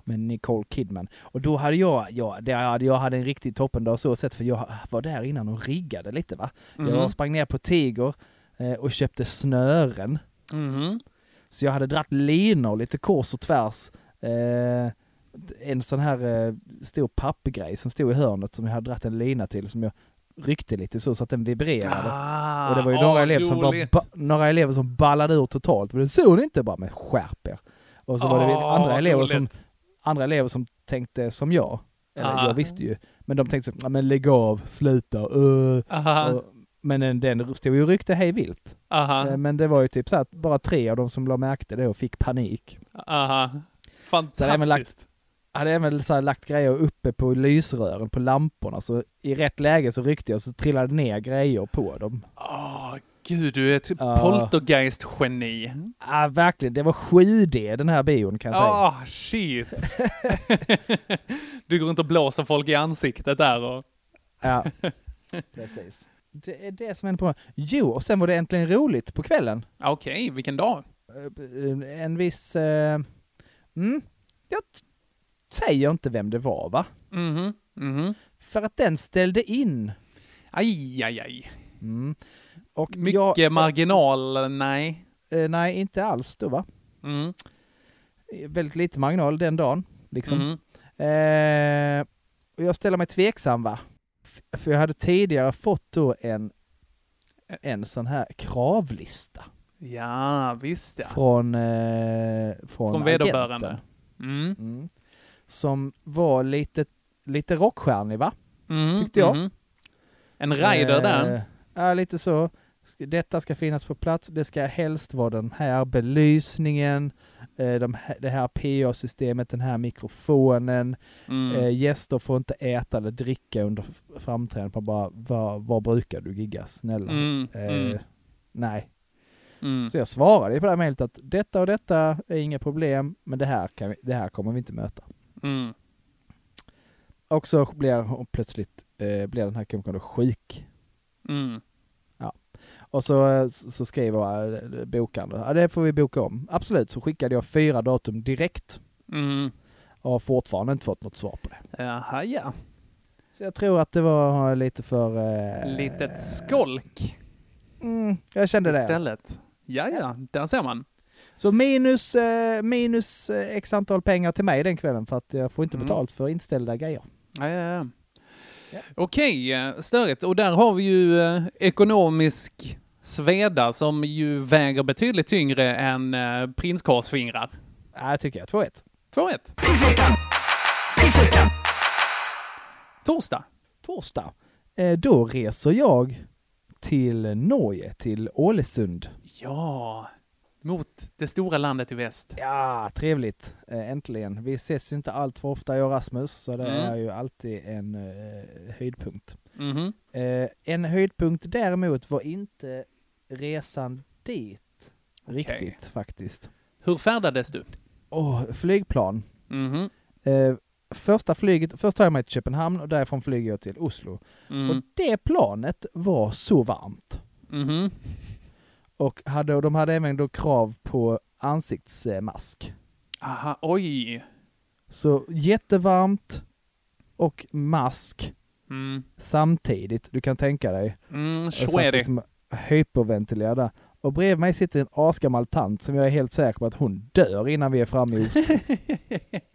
G: Med Nicole Kidman. Och då hade jag, jag, det hade, jag hade en riktig toppendag så sett för jag var där innan och riggade lite va.
F: Mhm.
G: Jag sprang ner på Tiger eh, och köpte snören.
F: Mhm.
G: Så jag hade dratt linor lite kors och tvärs. Eh, en sån här eh, stor pappgrej som stod i hörnet som jag hade dratt en lina till som jag ryckte lite så, så att den vibrerade.
F: Ah,
G: och det var ju några,
F: ah,
G: elever som bara,
F: roligt.
G: ba, några elever som ballade ur totalt. Men det såg ni inte bara, men skärp er. Och så var det
F: Ah,
G: andra
F: vad
G: elever, som,
F: roligt.
G: andra elever som tänkte som jag. Eller
F: Ah.
G: jag visste ju. Men de tänkte så, "Ja, men lägg av, sluta, uh.
F: Aha,
G: och, Men den, den stod ju och ryckte hej vilt.
F: aha.
G: Eh, Men det var ju typ så här att bara tre av dem som la märke till det och fick panik.
F: Aha.
G: Så hade jag även
F: Fantastiskt.
G: Hade även så här lagt grejer uppe på lysrören, på lamporna, så i rätt läge så ryckte jag så trillade ner grejer på dem.
F: Åh, gud, du är ett
G: Ja.
F: poltergeist-geni.
G: Ah, verkligen, det var 7D den här bion kan jag säga.
F: Åh, shit. du går inte och blåser folk i ansiktet där och...
G: Ja, precis. Det är det som hände på Jo, och sen var det äntligen roligt på kvällen.
F: Okej, vilken dag.
G: Eh, En viss... Eh, mm, jag t- säger inte vem det var va?
F: Mhm, mhm.
G: För att den ställde in.
F: Aj, aj, aj.
G: Mm. Och
F: Mycket
G: jag-
F: marginal, nej.
G: Eh, nej, inte alls då va?
F: Mm.
G: Eh, Väldigt lite marginal den dagen. Liksom.
F: Mm.
G: Eh, och jag ställer mig tveksam va? F- För jag hade tidigare fått då en, en sån här kravlista
F: Ja, visst ja.
G: från, eh, från,
F: Från
G: agenten.
F: vederbörande. Mm.
G: Mm. Som var lite, lite rockstjärnig va?
F: Mm,
G: Tyckte jag.
F: mhm. En rider där.
G: Eh, Ja, lite så. Ska- Detta ska finnas på plats. Det ska helst vara den här belysningen, eh, de här, det här PA-systemet, den här mikrofonen.
F: Mm.
G: Eh, gäster får inte äta eller dricka under f- framträdandet. Man bara, var, var brukar du gigga? Snälla. Eh,
F: Mm, mm.
G: Nej.
F: Mm.
G: Så jag svarade ju på det här mejlet att detta och detta är inga problem, men det här, kan vi, det här kommer vi inte möta.
F: Mm.
G: Och så blir hon plötsligt, eh, blir den här komikern då sjuk.
F: Mm.
G: Ja. Och så, eh, så skriver eh, bokaren, då, ja, det får vi boka om. Absolut, så skickade jag fyra datum direkt.
F: Mm.
G: Och har fortfarande inte fått något svar på det.
F: Jaha, ja.
G: Så jag tror att det var eh, lite för... Eh,
F: Litet skolk
G: Mm, jag kände det.
F: istället. Ja, ja, där ser man.
G: Så minus, eh, minus eh, x antal pengar till mig den kvällen för att jag får inte
F: Mm.
G: betalt för inställda grejer.
F: Ja, ja, ja. Okej, eh, störigt. Och där har vi ju eh, ekonomisk sveda som ju väger betydligt tyngre än eh, prinskorvsfingrar.
G: Ja, det tycker jag. 2-1.
F: 2-1. Torsdag.
G: Torsdag. Eh, då reser jag till Norge, till Ålesund.
F: Ja, mot det stora landet i väst.
G: Ja, trevligt. Eh, Äntligen. Vi ses ju inte allt för ofta jag och Rasmus, så det
F: Mm.
G: är ju alltid en eh, höjdpunkt.
F: Mhm.
G: Eh, en höjdpunkt däremot var inte resan dit riktigt faktiskt.
F: Hur färdades du?
G: Åh, flygplan.
F: Mhm.
G: Eh, första flyget, först tar jag mig till Köpenhamn och därifrån flyger jag till Oslo.
F: Mm.
G: Och det planet var så varmt.
F: Mhm.
G: Och, hade, och de hade även då krav på ansiktsmask.
F: Aha, oj.
G: Så jättevarmt och mask
F: Mm.
G: samtidigt. Du kan tänka dig.
F: Mm,
G: Jag
F: så
G: satt
F: är det.
G: liksom hyperventilerade. Och bredvid mig sitter en asgammal tant som jag är helt säker på att hon dör innan vi är framme i Oslo.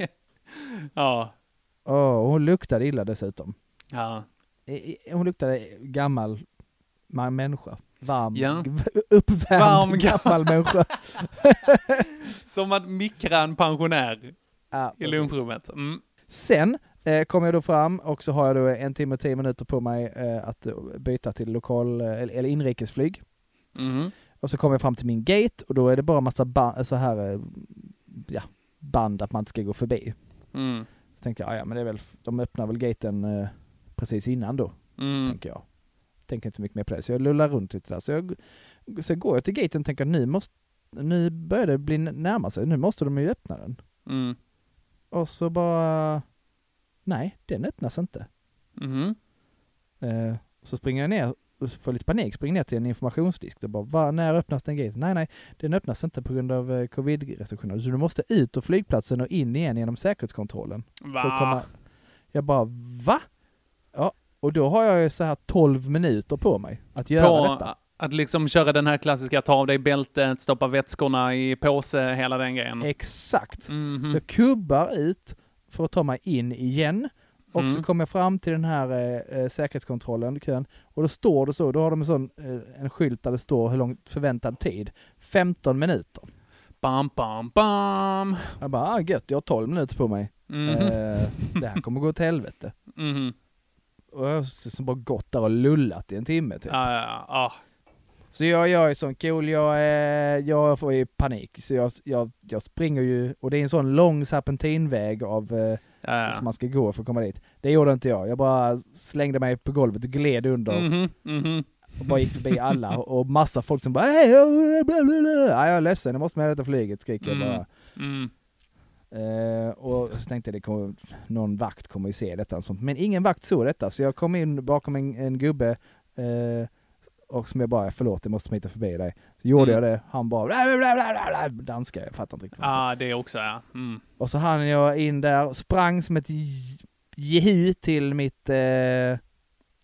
F: Ja.
G: Åh, och hon luktade illa dessutom.
F: ja.
G: Eh, eh, Hon luktade gammal ma- människa. Varm,
F: Ja.
G: g- uppvärmd
F: Varm,
G: gammal människa.
F: Som att mikra en pensionär
G: Ja,
F: i lunchrummet. Mm.
G: Sen eh, kommer jag då fram och så har jag då en timme och tio minuter på mig eh, att eh, byta till lokal eh, eller eller inrikesflyg.
F: Mhm.
G: Och så kommer jag fram till min gate och då är det bara massa ba- så här, eh, ja, band att man inte ska gå förbi.
F: Mm.
G: Så tänkte jag, "Ah, ja men det är väl, de öppnar väl gaten eh, precis innan då,
F: Mm.
G: tänker jag. Tänker inte så mycket mer på det, så jag lullar runt lite där. Så, jag, så går jag till gaten och tänker, nu måste, nu börjar det bli närma sig, nu måste de ju öppna den.
F: Mm.
G: Och så bara, nej, den öppnas inte.
F: Mhm.
G: Eh, så springer jag ner, och får lite panik, springer ner till en informationsdisk och bara, Va, när öppnas den gaten? Nej, nej, den öppnas inte på grund av eh, covid-restriktioner, så du måste ut ur flygplatsen och in igen genom säkerhetskontrollen.
F: Va?
G: För att Jag bara, va? Ja, och då har jag ju så här 12 minuter på mig att göra
F: På
G: detta.
F: att liksom köra den här klassiska ta av dig bältet, stoppa vätskorna i påse, hela den grejen.
G: Exakt.
F: Mm. Mhm.
G: Så jag kubbar ut för att ta mig in igen. Och
F: Mm.
G: så kommer jag fram till den här eh, eh, säkerhetskontrollen, kön, och då står det så, då har de en sån, eh, en skylt där det står hur lång förväntad tid. 15 minuter.
F: Bam, bam, bam.
G: Jag bara, ah, gött, jag har 12 minuter på mig.
F: Mhm.
G: Eh, det här kommer gå åt helvete.
F: Mhm.
G: Och jag har så- bara gått där och lullat i en timme typ.
F: Ja, ja, ja.
G: Så jag, jag är sån cool, jag, är, jag får ju panik. Så jag, jag, jag springer ju, och det är en sån lång serpentinväg av, eh,
F: Ja, ja.
G: som man ska gå för att komma dit. Det gjorde inte jag. Jag bara slängde mig på golvet och gled under
F: Mhm, mhm.
G: och bara gick förbi alla och massa folk som bara hej, oh, bla, bla, bla. Ja, jag är ledsen, jag måste med detta flyget, skriker jag bara.
F: Mm.
G: Eh, och så tänkte jag, det kommer, någon vakt kommer ju se detta och sånt. Men ingen vakt såg detta, så jag kom in bakom en, en gubbe eh, och som jag bara, förlåt jag måste smita förbi dig. Så gjorde
F: Mm.
G: jag det, han bara bla, bla, bla, bla, bla, danska, jag fattar inte riktigt. vad han sa.
F: Ah, det också, ja. Mm.
G: Och så hann jag in där, sprang som ett j- Jehu till mitt eh,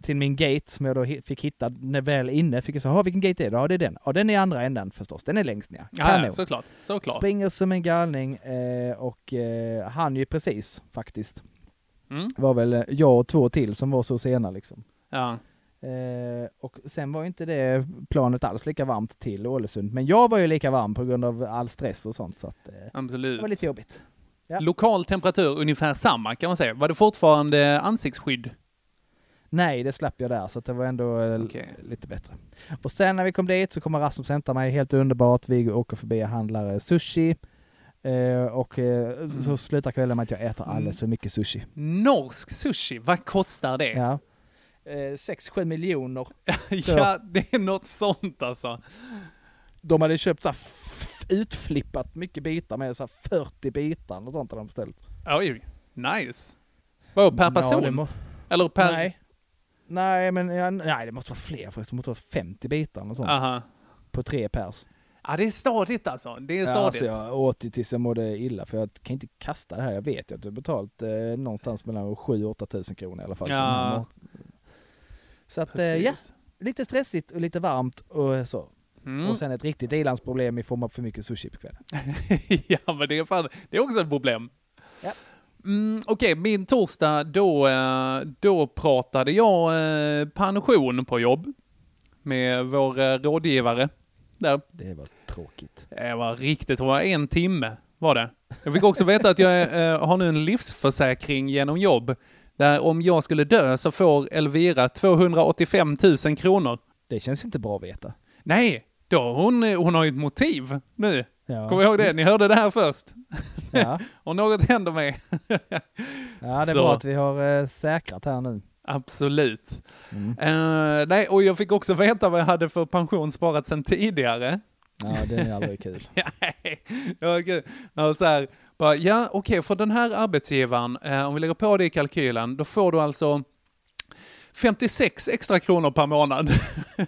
G: till min gate som jag då hi- fick hitta när väl inne. Fick jag säga, "Jaha, vilken gate är det? Ja, det är den. Ja, den är i andra änden förstås. Den är längst ner.
F: Ah, Ja, ja, såklart. såklart.
G: Springer som en galning eh, och eh, han ju precis faktiskt.
F: Mm.
G: Det var väl eh, jag och två till som var så sena liksom.
F: Ja.
G: Eh, och sen var ju inte det planet alls lika varmt till Ålesund. Men jag var ju lika varm på grund av all stress och sånt. Så att, eh,
F: Absolut.
G: det var lite jobbigt. Ja.
F: Lokal temperatur ungefär samma kan man säga. Var det fortfarande ansiktsskydd?
G: Nej, det slapp jag där, så att det var ändå eh, l- lite bättre. Och sen när vi kom dit så kommer Rasmus hämta mig, helt underbart. Vi åker förbi och handlar sushi. Eh, och eh, så-
F: Mm.
G: så slutar kvällen med att jag äter alldeles för mycket sushi.
F: Norsk sushi, vad kostar det?
G: Ja. 6-7 miljoner.
F: ja, det är något sånt alltså.
G: De hade köpt så här f- utflippat mycket bitar med så här 40 bitar och sånt hade de beställt.
F: Oj, nice. Vadå, per
G: Ja,
F: person?
G: det må-
F: Eller per...
G: Nej. Nej, men ja, nej, det måste vara fler förresten. Det måste vara 50 bitar eller sånt.
F: Aha.
G: På tre pers.
F: Ja, det är stadigt alltså. Det är
G: Ja,
F: stadigt.
G: alltså jag åt ju tills jag mådde illa för jag kan inte kasta det här. Jag vet ju att jag har betalat eh, någonstans mellan 7 8 tusen kronor i alla fall. för den här
F: Ja.
G: maten. Så att, eh, ja,
F: Precis.
G: lite stressigt och lite varmt och så.
F: Mm.
G: Och sen ett riktigt ilandsproblem i form av för mycket sushi på kvällen.
F: ja, men det är, fan, det är också ett problem. Mm, Okej, min torsdag, då, eh, då pratade jag eh, pension på jobb med vår eh, rådgivare. Där.
G: Det var tråkigt.
F: Det var riktigt, det var en timme var det. Jag fick också veta att jag eh, har nu en livsförsäkring genom jobb. Där om jag skulle dö så får Elvira 285 000 kronor.
G: Det känns inte bra att veta.
F: Nej, då har hon, eh, hon har ju ett motiv nu.
G: Ja,
F: Kom ihåg det,
G: visst.
F: ni hörde det här först.
G: Ja.
F: Om något händer mig.
G: Ja, det är
F: Så.
G: bra att vi har eh, säkrat här nu.
F: Absolut. Eh, nej, och jag fick också veta vad jag hade för pension sparat sedan tidigare.
G: Ja, det är aldrig kul.
F: Nej, det var kul. Det var så här, bara, ja okej, för den här arbetsgivaren, eh, om vi lägger på det i kalkylen, då får du alltså 56 extra kronor per månad.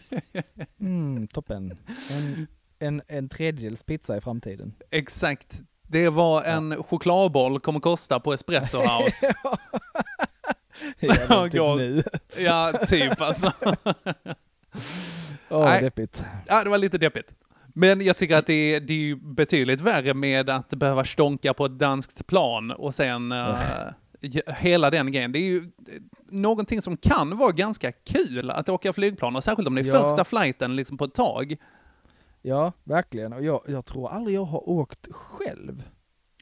G: Mm, toppen. En, en, en tredjedels pizza i framtiden.
F: Exakt. Det var en chokladboll kommer kosta på Espresso House.
G: Ja, men typ
F: Ja,
G: nu.
F: ja, typ alltså.
G: Åh,
F: Nej.
G: deppigt.
F: Ja, det var lite deppigt. Men jag tycker att det är, det är ju betydligt värre med att behöva stonka på ett danskt plan och sen eh, ge- hela den grejen. Det är ju eh, någonting som kan vara ganska kul att åka flygplan och särskilt om det är
G: Ja.
F: första flighten liksom på ett tag.
G: Ja, verkligen. Och jag, jag tror aldrig jag har åkt själv.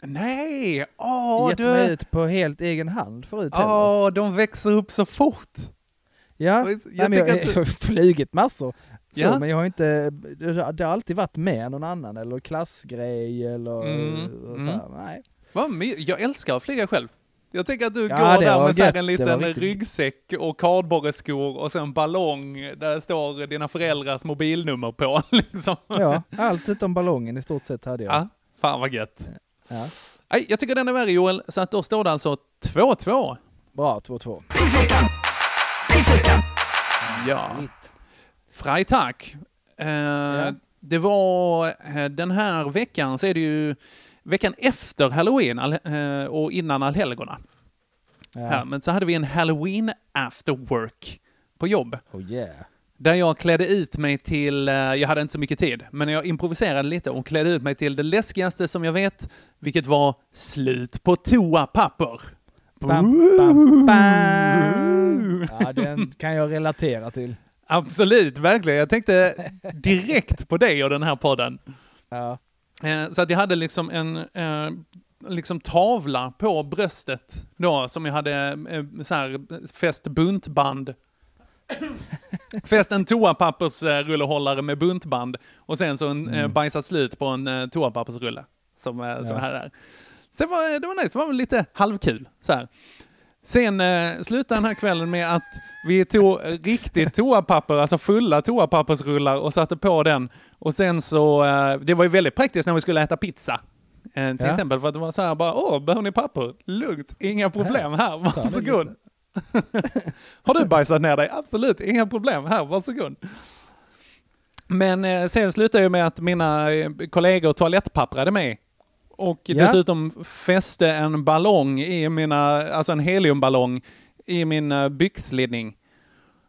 F: Nej! Åh,
G: Gett
F: du...
G: mig ut på helt egen hand förut heller.
F: Åh, de växer upp så fort!
G: Ja,
F: jag
G: Nej, men jag,
F: tycker att
G: jag,
F: du-
G: har flugit massor. Så,
F: Ja.
G: Men jag har inte, det har alltid varit med någon annan eller klassgrej eller
F: Mm,
G: och så här.
F: mm.
G: Nej.
F: Vad my- jag älskar att flyga själv. Jag tänker att du
G: Ja,
F: går
G: det
F: där
G: var
F: med så här
G: gött.
F: en
G: Det var
F: liten
G: riktigt-
F: ryggsäck och kardborreskor och sen ballong där det står dina föräldrars mobilnummer på. Liksom.
G: Ja, allt utom ballongen i stort sett hade jag.
F: Ja, fan vad gött.
G: Ja.
F: Nej, jag tycker den är värre Joel, så att då står det alltså 2-2.
G: Bra, 2-2.
F: Ja. Freitag. Eh, Det var eh, den här veckan så är det ju veckan efter halloween all, eh, och innan allhelgona. Här, men så hade vi en halloween after work på jobb.
G: Oh yeah.
F: Där jag klädde ut mig till, eh, jag hade inte så mycket tid, men jag improviserade lite och klädde ut mig till det läskigaste som jag vet, vilket var slut på toapapper.
G: Bam, bam, bam. Ja, den kan jag relatera till.
F: Absolut, verkligen. Jag tänkte direkt på dig och den här podden. Eh, Så att jag hade liksom en eh, liksom tavla på bröstet då, som jag hade eh, så här, fäst buntband. fäst en toapappersrullehållare med buntband och sen så en, eh, bajsat slut på en eh, toapappersrulle som, eh, som
G: Ja.
F: jag hade där. Så det var, det var nice, det var väl lite halvkul. Så här. Sen eh, slutade den här kvällen med att vi tog riktigt toapapper, alltså fulla toapappersrullar och satte på den. Och sen så, eh, det var ju väldigt praktiskt när vi skulle äta pizza. Eh, till
G: Ja.
F: exempel för att det var så här bara, åh, behöver ni papper? Lugnt, inga problem här, varsågod. Har du bajsat ner dig? Absolut, inga problem här, varsågod. Men eh, sen slutade jag med att mina eh, kollegor toalettpapprade mig Och
G: Ja.
F: dessutom fäste en ballong i mina, alltså en heliumballong i min eh, byxlinning.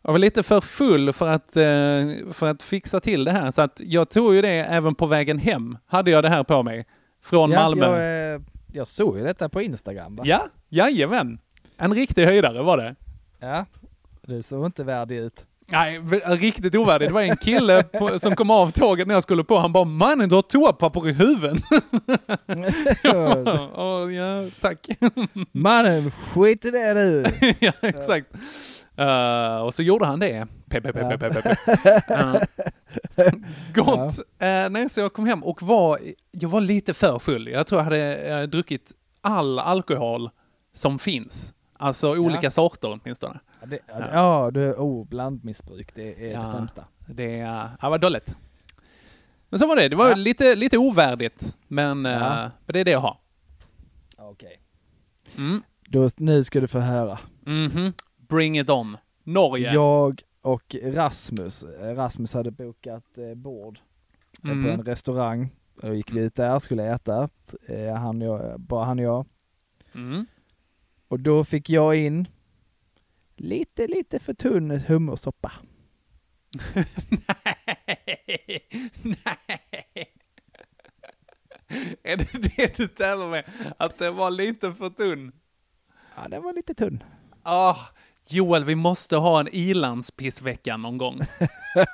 F: Jag var lite för full för att, eh, för att fixa till det här, så att jag tog ju det även på vägen hem, hade jag det här på mig. Från
G: ja,
F: Malmö.
G: Jag, eh, jag såg ju detta på Instagram va?
F: Ja, jajamän. En riktig höjdare var det.
G: Ja. Du såg inte värdig ut.
F: Nej, v- riktigt ovärdigt. Det var en kille på, som kom av tåget när jag skulle på. Han bara ”Mannen, du har toapapper i huven”. ja, ja, ja, tack.
G: Mannen, skit i det nu.
F: ja, exakt. Eh, och så gjorde han det. Pe, pe, pe, pe, pe, pe, pe. Eh, gott. Eh, nej, så jag kom hem och var, jag var lite för full. Jag tror jag hade eh, druckit all alkohol som finns. Alltså olika sorter åtminstone.
G: Ja, det, ja, det- ja du, oh, blandmissbruk, det är
F: Ja.
G: det sämsta.
F: Det, eh, ja, var dåligt. Men så var det. Det var lite, lite ovärdigt. Men, eh,
G: Ja.
F: men det är det jag har.
G: Okej.
F: Mm.
G: Då, nu ska du få höra.
F: Mhm. Bring it on. Norge.
G: Jag och Rasmus, eh, Rasmus hade bokat eh, bord eh,
F: Mm.
G: på en restaurang. Och gick vi ut där, skulle äta, eh, han och jag, bara han och jag.
F: Mm.
G: Och då fick jag in lite, lite för tunn hummersoppa.
F: Är det det du tävlar med? Att det var lite för tunn?
G: Ja, den var lite tunn.
F: Ah, Joel, vi måste ha en ilandspissvecka någon gång.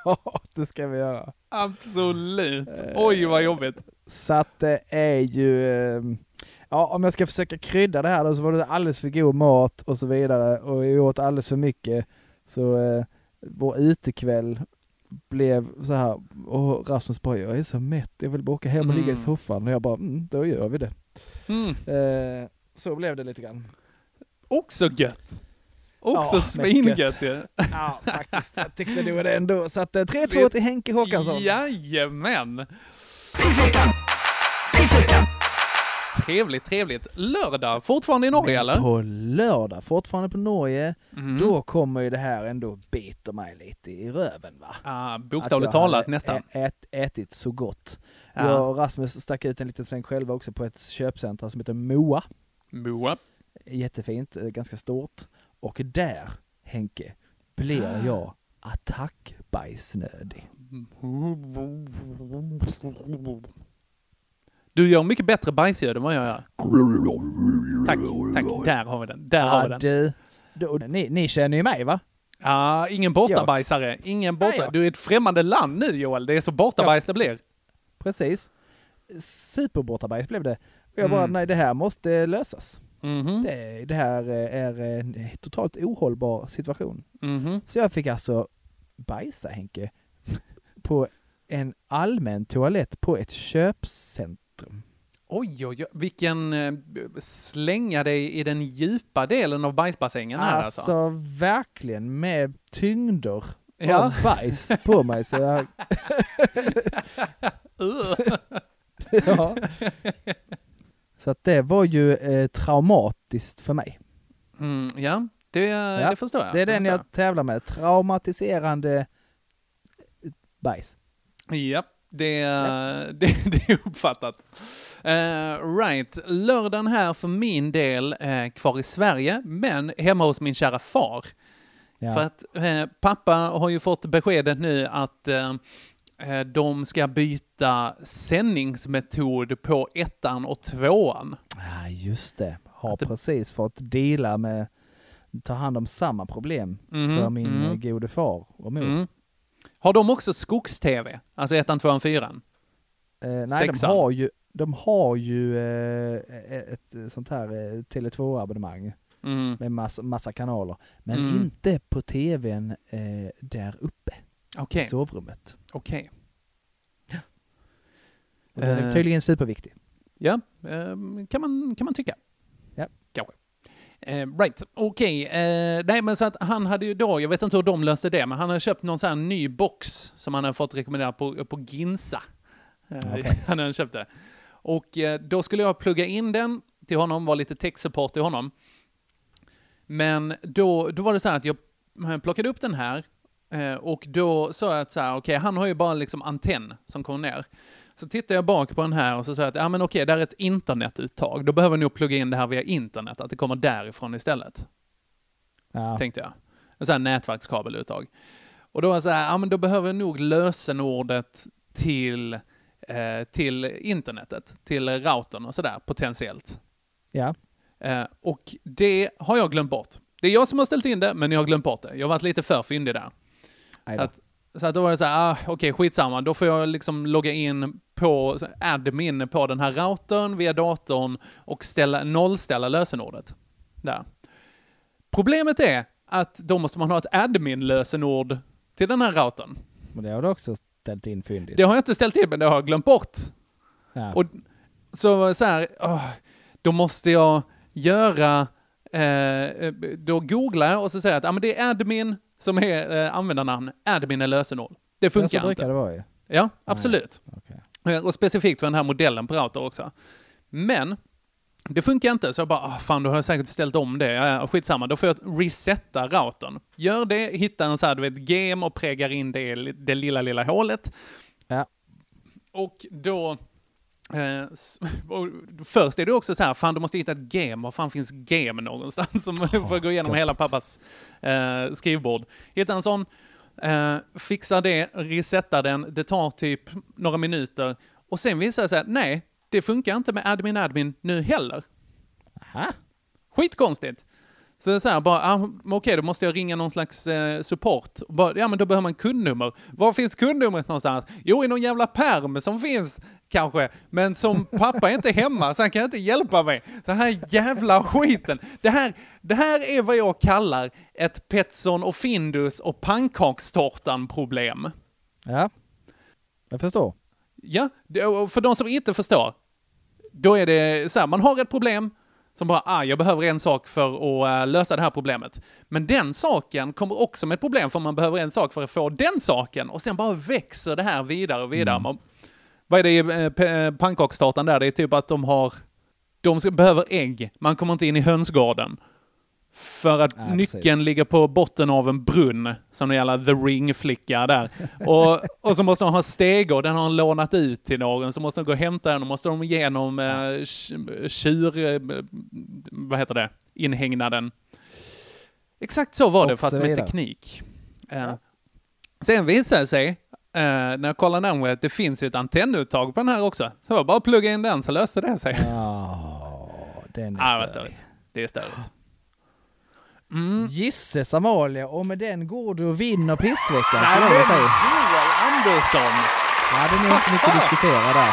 G: Ja, det ska vi göra.
F: Absolut. Oj, vad jobbigt.
G: Så att det är ju, eh, ja om jag ska försöka krydda det här då så var det alldeles för god mat och så vidare och vi åt alldeles för mycket. Så eh, vår utekväll blev så här, och Rasmus bara jag är så mätt, jag vill bara åka hem och ligga i
F: Mm.
G: soffan och jag bara mm, då gör vi det. Eh, så blev det lite grann.
F: Också gött. Också
G: Ja,
F: svingött ju.
G: Ja, faktiskt. Jag tyckte det var det ändå. Så att eh, 3-2 till Henke Håkansson.
F: Jajamän. Trevligt, trevligt. Lördag, fortfarande i Norge eller?
G: På lördag, fortfarande på Norge, då kommer ju det här ändå bita mig lite i röven va?
F: Ah, bokstavligt
G: Att jag
F: talat
G: hade
F: nästan.
G: Ä- ät, ätit så gott.
F: Ja.
G: Jag och Rasmus stack ut en liten sväng själva också på ett köpcenter som heter Moa.
F: Moa.
G: Jättefint, eh, ganska stort. Och där, Henke,
F: Ah.
G: blev jag attackbajsnödig.
F: Du gör mycket bättre bajsljud än vad jag gör. Tack, tack. Där har vi den. Där har vi den.
G: du, då, ni, ni känner ju mig va?
F: Ah, ingen bortabajsare. Ingen borta. Du är ett främmande land nu Joel. Det är så bortabajs det blir.
G: Precis. Superbortabajs blev det. Och jag bara,
F: Mm.
G: nej det här måste lösas.
F: Mhm.
G: Det, det här eh, är en totalt ohållbar situation.
F: Mhm.
G: Så jag fick alltså bajsa Henke på en allmän toalett på ett köpcentrum.
F: Oj, oj, oj. Vilken eh, slänga dig i den djupa delen av bajsbassängen här alltså.
G: Alltså verkligen med tyngder
F: Ja.
G: av bajs på mig. Så jag... ja. Så att det var ju eh, traumatiskt för mig.
F: Mm, ja, det,
G: Ja,
F: det förstår jag.
G: Det är den
F: förstår
G: jag tävlar med. Traumatiserande bajs.
F: Ja, det, det, det är uppfattat. Eh, right, lördagen här för min del eh, kvar i Sverige, men hemma hos min kära far.
G: Ja.
F: För att eh, pappa har ju fått beskedet nu att eh, eh, de ska byta sändningsmetod på ettan och tvåan.
G: Ja, just det. Har precis fått deala med, ta hand om samma problem
F: Mhm,
G: för min
F: mhm.
G: mm. gode far och mor.
F: Mm. Har de också skogs-tv? Alltså ettan, tvåan, fyran?
G: Eh, nej, de
F: Sexan.
G: har ju, de har ju eh, ett eh, sånt här eh, Tele2-abonnemang
F: Mm.
G: med massa, massa kanaler. Men
F: Mm.
G: inte på tvn eh, där uppe
F: Okej.
G: i sovrummet.
F: Okej.
G: Och Den är
F: Eh.
G: tydligen superviktig.
F: Ja, ehm, kan man, kan man tycka.
G: Ja.
F: Kanske. Eh, right, okej. Eh, nej, men så att han hade ju då, jag vet inte hur de löste det, men han hade köpt någon sån här ny box som han hade fått rekommenderad på, på Ginsa. Eh,
G: Okej.
F: Han hade köpt det. Och eh, då skulle jag plugga in den till honom, vara lite tech-support till honom. Men då, då var det så här att jag plockade upp den här Eh, och då sa jag att så här, okej, han har ju bara liksom antenn som kommer ner. Så tittade jag bak på den här och så sa jag att, ja men okej, där är ett internetuttag. Då behöver vi nog plugga in det här via internet, att det kommer därifrån istället.
G: Ja.
F: Tänkte jag. En sån här nätverkskabeluttag. Och då var jag så här, ja men då behöver jag nog lösenordet till, eh, till internetet, till routern och sådär potentiellt.
G: Ja.
F: Eh, och det har jag glömt bort. Det är jag som har ställt in det, men jag har glömt bort det. Jag har varit lite för fyndig där.
G: Aj då.
F: Att, så att då var det så här, ah, okej skitsamma, då får jag liksom logga in på så här, admin på den här routern via datorn och ställa, nollställa lösenordet. Där. Problemet är att då måste man ha ett admin-lösenord till den här routern.
G: Men det har du också ställt in fyndigt.
F: Det har jag inte ställt in, men det har jag glömt bort.
G: Ja.
F: Och så var det så här, åh, då måste jag göra, eh, då googlar jag och så säger jag att ah, men det är admin som är eh, användarnamn, admin är lösenord. Det
G: Ja, så
F: funkar
G: brukar
F: inte.
G: det vara ju.
F: Ja, absolut. Eh, Och specifikt för den här modellen på router också. Men det funkar inte, så jag bara, ah, fan då har jag säkert ställt om det. Ja, ja, skitsamma, då får jag resetta routern. Gör det, hittar en så här, du vet, game och prägar in det, det lilla, lilla hålet.
G: Ja.
F: Och då... Eh, s- och först är det också så här, fan du måste hitta ett game, var fan finns game någonstans? Som får gå igenom hela pappas eh, skrivbord. Hitta en sån, eh, fixa det, resetta den, det tar typ några minuter. Och sen visar det sig att nej, det funkar inte med admin admin nu heller.
G: Aha.
F: Skitkonstigt. Så det är så här, bara, ah, men okej, då måste jag ringa någon slags eh, support. Och Bara, ja, men då behöver man kundnummer. Var finns kundnumret någonstans? Jo, i någon jävla perm som finns kanske, men som pappa är inte hemma så han kan inte hjälpa mig. Den här jävla skiten. Det här, det här är vad jag kallar ett Petson och Findus och pannkakstårtan-problem.
G: Ja. Jag förstår.
F: Ja, det- och för de som inte förstår, då är det så här, man har ett problem som bara, ah, jag behöver en sak för att eh, lösa det här problemet. Men den saken kommer också med ett problem för man behöver en sak för att få den saken och sen bara växer det här vidare och vidare. Man, vad är det i eh, p- eh, pannkakstårtan där? Det är typ att de har, de ska, behöver ägg, man kommer inte in i hönsgården. För att
G: Nej,
F: nyckeln
G: precis.
F: ligger på botten av en brunn, som en jävla The Ring-flicka där. Och, och så måste de ha steg och den har han lånat ut till någon, så måste de gå och hämta den och måste de igenom eh, tj- tjur... Eh, vad heter det? Inhägnaden. Exakt så var det, fast med
G: Observera.
F: teknik. Eh, Sen visade det sig, eh, när jag kollade närmare, att det finns ju ett antennuttag på den här också. Så jag bara plugga in den så löste det sig.
G: Mm. Ja, den
F: Ah, det var
G: är störig.
F: störigt. Mm. Det är störigt.
G: Gisses Amalia och med den går du och vinner pissveckan
F: Nej,
G: skulle
F: men
G: jag säga.
F: Joel Andersson!
G: Ja, det är nog inte mycket att diskutera där.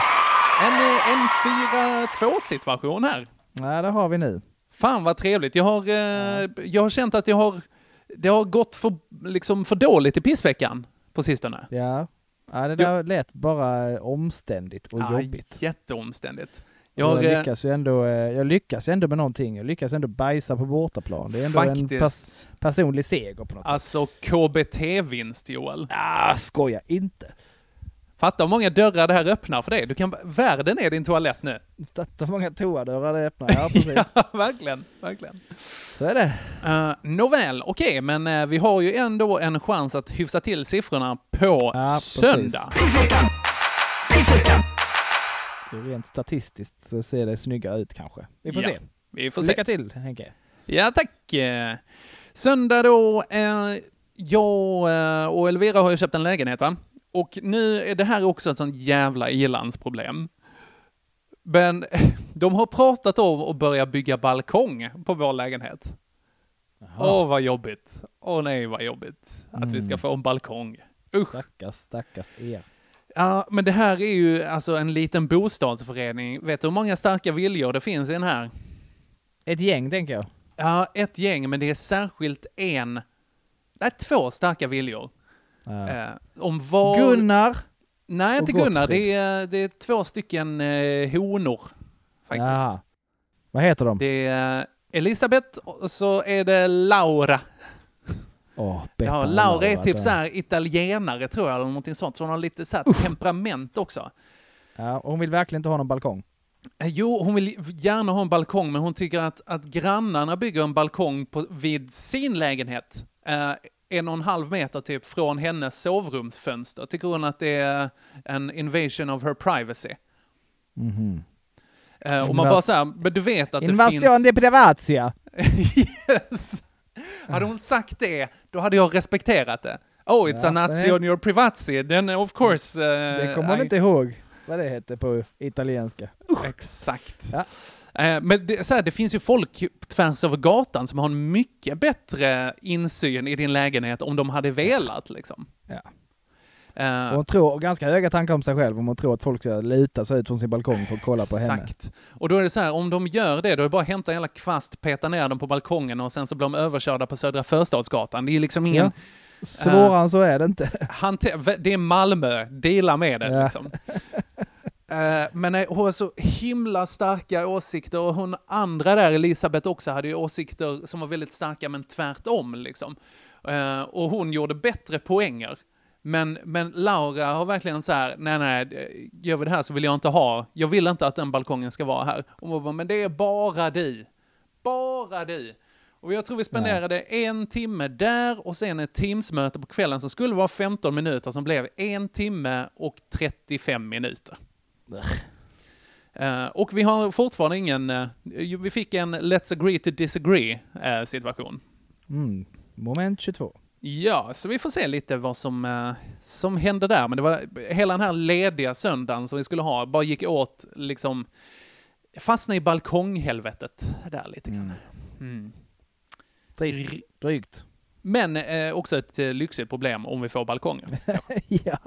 F: En, eh, en 4-2 situation här.
G: Nej, det har vi nu.
F: Fan vad trevligt. Jag har, eh, jag har känt att jag har, det har gått för, liksom för dåligt i pissveckan på sistone.
G: Ja. ja, det där lät bara eh, omständigt och
F: Ah,
G: jobbigt.
F: jätteomständigt. Jag
G: Jag,
F: har, eh,
G: lyckas ju ändå, eh, jag lyckas ju ändå med någonting. Jag lyckas ändå bajsa på bortaplan. Det är ändå en pers
F: Faktiskt.
G: personlig seger på något sätt.
F: alltså KBT-vinst Joel.
G: Ah, skoja inte.
F: Fatta hur många dörrar det här öppnar för dig. Du kan, världen är din toalett nu.
G: Hur många toadörrar det öppnar. Ja, precis.
F: Ja, verkligen. verkligen.
G: Så är det.
F: Eh, nåväl, okej, men eh, vi har ju ändå en chans att hyfsa till siffrorna på
G: Ja, precis.
F: söndag.
G: Så rent statistiskt så ser det snyggare ut kanske. Vi får
F: Ja,
G: se.
F: Vi får
G: Lycka
F: se.
G: till Henke.
F: Ja, tack. Eh, Söndag då. Eh, jag eh, och Elvira har ju köpt en lägenhet, va? Och nu är det här också ett sånt jävla ilandsproblem. Men eh, de har pratat om att börja bygga balkong på vår lägenhet. Åh, vad jobbigt. Åh nej, vad jobbigt att vi ska
G: Mm.
F: få en balkong.
G: Stackars, stackars er.
F: Ja, men det här är ju alltså en liten bostadsförening. Vet du hur många starka viljor det finns i den här?
G: Ett gäng tänker jag.
F: Ja, ett gäng, men det är särskilt en, nej, två starka viljor. Eh, om var...
G: Gunnar.
F: Nej,
G: och
F: inte Gunnar.
G: Gottfrid.
F: Det är, det är två stycken eh, honor, faktiskt.
G: Jaha. Vad heter de?
F: Det är eh, Elisabeth och så är det Laura.
G: Åh,
F: Ja,
G: Bettan och
F: Laura är typ
G: där.
F: så här italienare, tror jag, eller någonting sånt. Så hon har lite så här temperament också.
G: Ja, och hon vill verkligen inte ha någon balkong.
F: Eh, Jo, hon vill gärna ha en balkong, men hon tycker att, att grannarna bygger en balkong på, vid sin lägenhet eh, en och en halv meter typ från hennes sovrumsfönster tycker hon att det är en invasion of her privacy.
G: Mhm.
F: Eh, och man
G: Invas-
F: bara såhär, men du vet att det finns...
G: Invasion de privatia.
F: yes. Hade hon sagt det, då hade jag respekterat det. Oh, it's
G: Ja,
F: a Nazi
G: nej.
F: on your privacy, then of course... Uh,
G: Det kommer man inte ihåg vad det hette på italienska.
F: Exakt. Eh, Men det, så här, det finns ju folk tvärs över gatan som har en mycket bättre insyn i din lägenhet om de hade velat. Liksom. Eh,
G: Och hon tror ganska höga tankar om sig själv om hon tror att folk ska luta sig ut från sin balkong för att kolla på henne.
F: Exakt. Och då är det så här, om de gör det, då är det bara att hämta en jävla kvast, peta ner dem på balkongen och sen så blir de överkörda på Södra Förstadsgatan. Det är liksom ingen...
G: Ja. Mm. Svårare än så är det inte.
F: Hanter, vä- det är Malmö, dela med det.
G: Ja.
F: Liksom. Eh, Men nej, hon har så himla starka åsikter och hon andra där, Elisabeth också, hade ju åsikter som var väldigt starka men tvärtom. Liksom. Eh, Och hon gjorde bättre poänger. Men, men Laura har verkligen så här, nej nej, eh, gör vi det här så vill jag inte ha, jag vill inte att den balkongen ska vara här. Och hon bara, men det är bara du. Bara du. Och jag tror vi spenderade en timme där och sen ett Teamsmöte på kvällen som skulle vara 15 minuter som blev en timme och 35 minuter. Eh, och vi har fortfarande ingen, eh, ju- vi fick en let's agree to disagree eh, situation.
G: Mm. Moment 22.
F: Ja, så vi får se lite vad som, eh, som hände där. Men det var hela den här lediga söndagen som vi skulle ha, bara gick åt liksom, fastna i balkonghelvetet där lite grann. Mm.
G: Trist. Drygt.
F: Men eh, också ett eh, lyxigt problem om vi får balkonger. kanske.
G: Ja.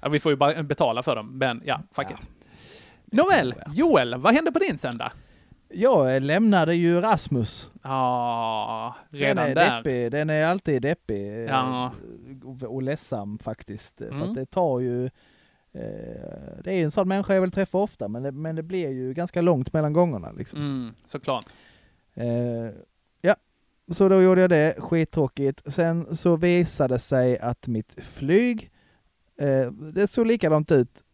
F: ja, vi får ju ba- betala för dem, men ja, fuck it. Nåväl, Joel, vad hände på din söndag?
G: Jag lämnade ju Rasmus.
F: Ja, redan
G: den är
F: där.
G: Deppig. Den är alltid deppig eh,
F: Ja.
G: och- och ledsam faktiskt. eh, För
F: Mm.
G: att det tar ju... eh, Det är en sån människa jag vill träffa ofta men det, men det blir ju ganska långt mellan gångerna. Liksom.
F: Mm, såklart.
G: Eh, ja, så då gjorde jag det. Skittråkigt. Sen så visade det sig att mitt flyg, eh, det såg likadant ut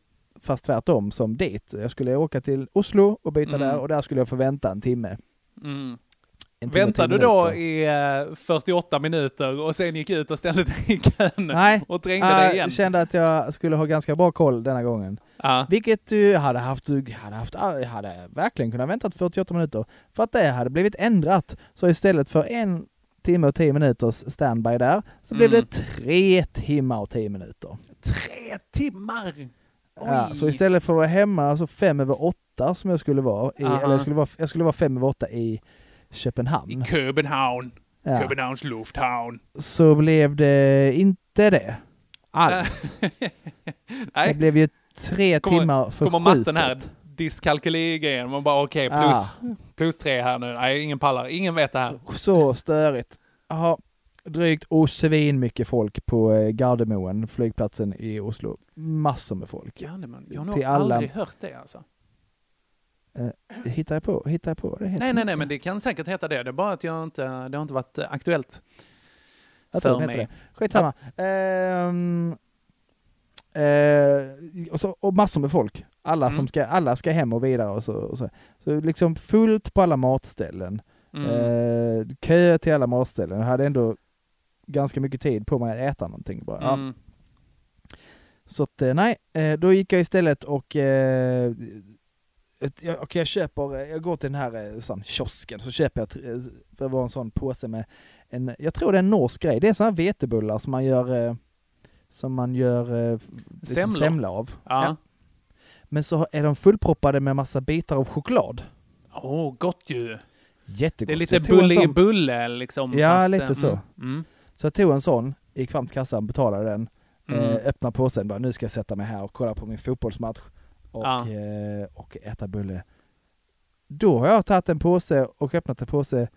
G: fast tvärtom som dit. Jag skulle åka till Oslo och byta
F: Mm.
G: där och där skulle jag få vänta en timme.
F: Mm.
G: En timme,
F: Väntade
G: tio
F: du då
G: minuter.
F: i eh, 48 minuter och sen gick ut och ställde dig i kön
G: Nej.
F: och trängde
G: Ah,
F: dig igen?
G: kände att jag skulle ha ganska bra koll denna gången.
F: Ja.
G: Vilket du hade haft, du hade haft, ah, jag hade verkligen kunnat vänta 48 minuter. För att det hade blivit ändrat. Så istället för en timme och 10 minuters standby där, så blev
F: Mm.
G: det tre timmar och 10 minuter.
F: Tre timmar!
G: Ja, så istället för att vara hemma, alltså fem över åtta som jag skulle vara, i,
F: Aha.
G: eller jag skulle vara, jag skulle vara fem över åtta i Köpenhamn,
F: Köpenhamn.
G: Ja.
F: Köpenhamns Lufthavn.
G: så blev det inte
F: Äh,
G: det. Alls.
F: Nej.
G: Det blev ju tre
F: Kommer-
G: timmar för
F: Kommer
G: sjukt.
F: matten här, diskalkyli-grejen. Man bara okej, plus, plus tre här nu. Nej, ingen pallar. Ingen vet det här.
G: Så störigt. Jaha, drygt och svin mycket folk på eh, Gardermoen, flygplatsen i Oslo. Massor med folk.
F: Gardermoen, Jag har nog
G: Till alla-
F: aldrig hört det alltså.
G: Eh, hittar jag på? Hittar jag på? vad Det heter?
F: Nej, nej, nej, men det kan säkert heta det. Det är bara att jag inte, det har inte varit eh, aktuellt
G: Jag tror
F: för
G: den heter
F: mig.
G: det. Skitsamma. Ehm, eh, och, så, och massor med folk. Alla,
F: Mm.
G: som ska, alla ska hem och vidare och så. Och så. så liksom fullt på alla matställen.
F: Mm.
G: Eh, kö till alla matställen. Jag hade ändå ganska mycket tid på mig att äta någonting bara. Ja.
F: Mm.
G: Så att, eh, nej, eh, då gick jag istället och eh, ett- jag, okej, jag köper, eh, jag går till den här eh, sån kiosken så köper jag, tr- eh, det var en sån påse med en, jag tror det är en norsk grej, det är såna här vetebullar som man gör, eh, som man gör eh, liksom
F: Semlor.
G: semla av.
F: Ja.
G: Men så är de fullproppade med massa bitar av choklad.
F: Åh, gott ju.
G: Jättegott.
F: Det är
G: Så
F: lite
G: Typ jag tog en
F: bulle i
G: sån.
F: bulle liksom.
G: Ja,
F: fast, eh,
G: lite så.
F: Mm. Mm.
G: Så jag tog en sån, gick fram till kassan, betalade den,
F: Mm.
G: eh, öppnade påsen, bara nu ska jag sätta mig här och kolla på min fotbollsmatch och,
F: Ja.
G: eh, och äta bulle. Då har jag tagit en påse och öppnat en påse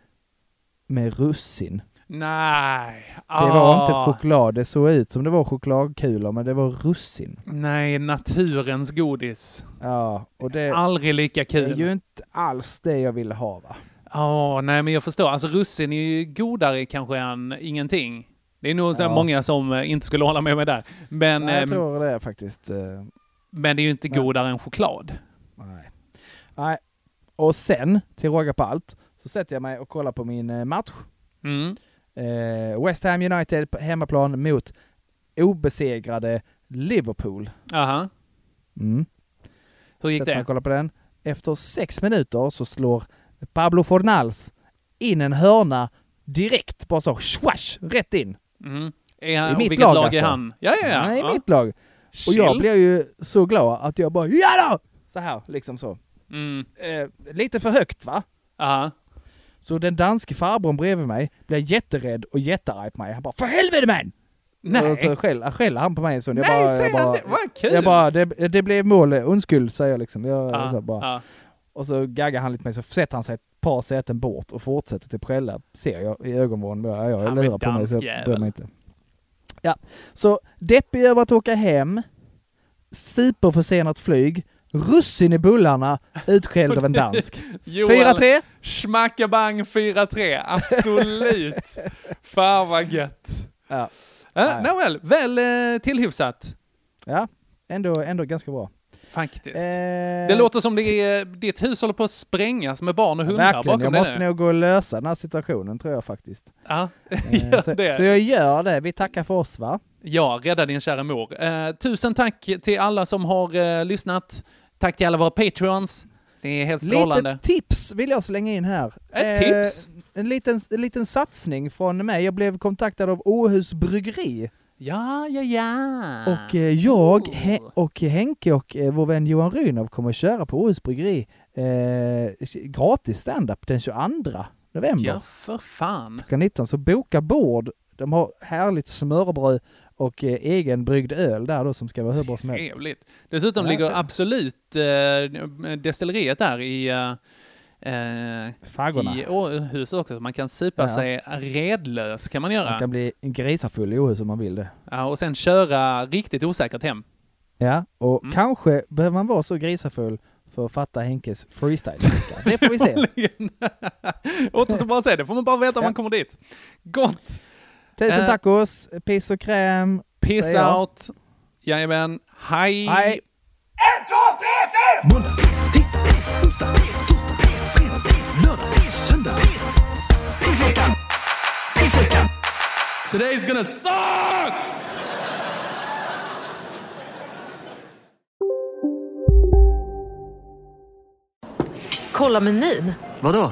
G: med russin.
F: Nej.
G: Det var
F: Ah.
G: inte choklad, det såg ut som det var chokladkulor men det var russin.
F: Nej, naturens godis.
G: Ja, och det,
F: Aldrig lika
G: Eh, det är
F: kul.
G: ju inte alls det jag ville ha va?
F: Ja, nej men jag förstår. Alltså russin är ju godare kanske än ingenting. Det är nog så här
G: Ja.
F: många som eh, inte skulle hålla med mig där. Men,
G: Nej,
F: ehm,
G: jag tror det faktiskt. eh,
F: men det är ju inte
G: Nej.
F: godare än choklad.
G: Nej. Nej. Och sen, till råga på allt, så sätter jag mig och kollar på min eh, match.
F: Mm.
G: Eh, West Ham United på hemmaplan mot obesegrade Liverpool.
F: Aha.
G: Mm.
F: Hur gick
G: Så att
F: det?
G: Man kollar på den. Efter sex minuter så slår Pablo Fornals in en hörna direkt, bara så swash, rätt in.
F: Mm. Är han,
G: I
F: och
G: mitt
F: vilket
G: lag,
F: lag
G: alltså.
F: är han? Ja, ja, ja.
G: Han är i
F: ja.
G: mitt lag. Och jag
F: Chill.
G: blev ju så glad att jag bara ja då! Så här, liksom så.
F: Mm.
G: Eh, lite för högt va?
F: Aha.
G: Så den danske farbrorn bredvid mig blev jätterädd och jättearg på mig. Han bara för helvete man!
F: Nej.
G: Och så skäller, skäller han på mig en stund. Jag
F: Nej,
G: bara, jag
F: säger han
G: bara,
F: det? Vad kul!
G: Jag bara, det, det blev mål, eh, undskyld säger jag liksom. Jag,
F: Ja,
G: så här bara.
F: ja.
G: Och så gaggar han lite mig så sätter han sig ett par säten bort och fortsätter typ skälla. Ser jag i ögonvrån. Ja, ja, jag
F: Han är
G: lurar på mig så jag
F: dansk
G: bryr mig inte. Ja, så deppig över att åka hem, superförsenat flyg, russin i bullarna, utskälld av en dansk.
F: Joel,
G: 4-3.
F: Schmackabang 4-3, absolut. Fan vad gött.
G: Ja.
F: Äh, Nåväl, väl eh, tillhyfsat
G: Ja, ändå, ändå ganska bra.
F: faktiskt.
G: Eh,
F: det låter som det är, ditt hus håller på att sprängas med barn och hundar
G: Verkligen,
F: bakom
G: jag
F: dig
G: måste
F: nu.
G: nog gå och lösa den här situationen tror jag faktiskt.
F: Ja,
G: Eh,
F: gör
G: så,
F: det.
G: så jag gör det. Vi tackar för oss va?
F: Ja, rädda din kära mor. Eh, tusen tack till alla som har eh, lyssnat. Tack till alla våra patreons. Det är helt strålande.
G: Litet tips vill jag slänga in här. Eh,
F: Ett tips?
G: En liten, en liten satsning från mig. Jag blev kontaktad av Åhus Bryggeri.
F: Ja, ja, ja.
G: Och eh, jag He- och Henke och eh, vår vän Johan Rynov kommer att köra på Åhus Bryggeri eh, gratis standup den 22 november.
F: Ja, för fan.
G: Klockan 19. Så boka bord. De har härligt smörbröd och eh, egenbryggd öl där då som ska vara hur bra som helst.
F: Trevligt. Dessutom
G: Ja.
F: ligger absolut eh, destilleriet där i... Eh, eh,
G: Faggorna.
F: I Åhus också. Man kan supa
G: Ja.
F: sig redlös, kan man göra.
G: Man kan bli grisafull i Åhus om man vill det.
F: Ja, och sen köra riktigt osäkert hem.
G: Ja, och kanske behöver man vara så grisafull för att fatta Henkes freestyle. Det får vi se.
F: Återstår bara att se, det får man bara veta om man kommer dit. Gott!
G: Tusen
F: Eh,
G: tacos, piss och kräm.
F: Piss
G: säger jag.
F: out! Jajamän, hej!
G: Hej.
J: Måndag, tisdag, onsdag, fredag, lördag, söndag. Pissveckan! Pissveckan! Today's gonna suck!
K: Kolla menyn.
L: Vadå?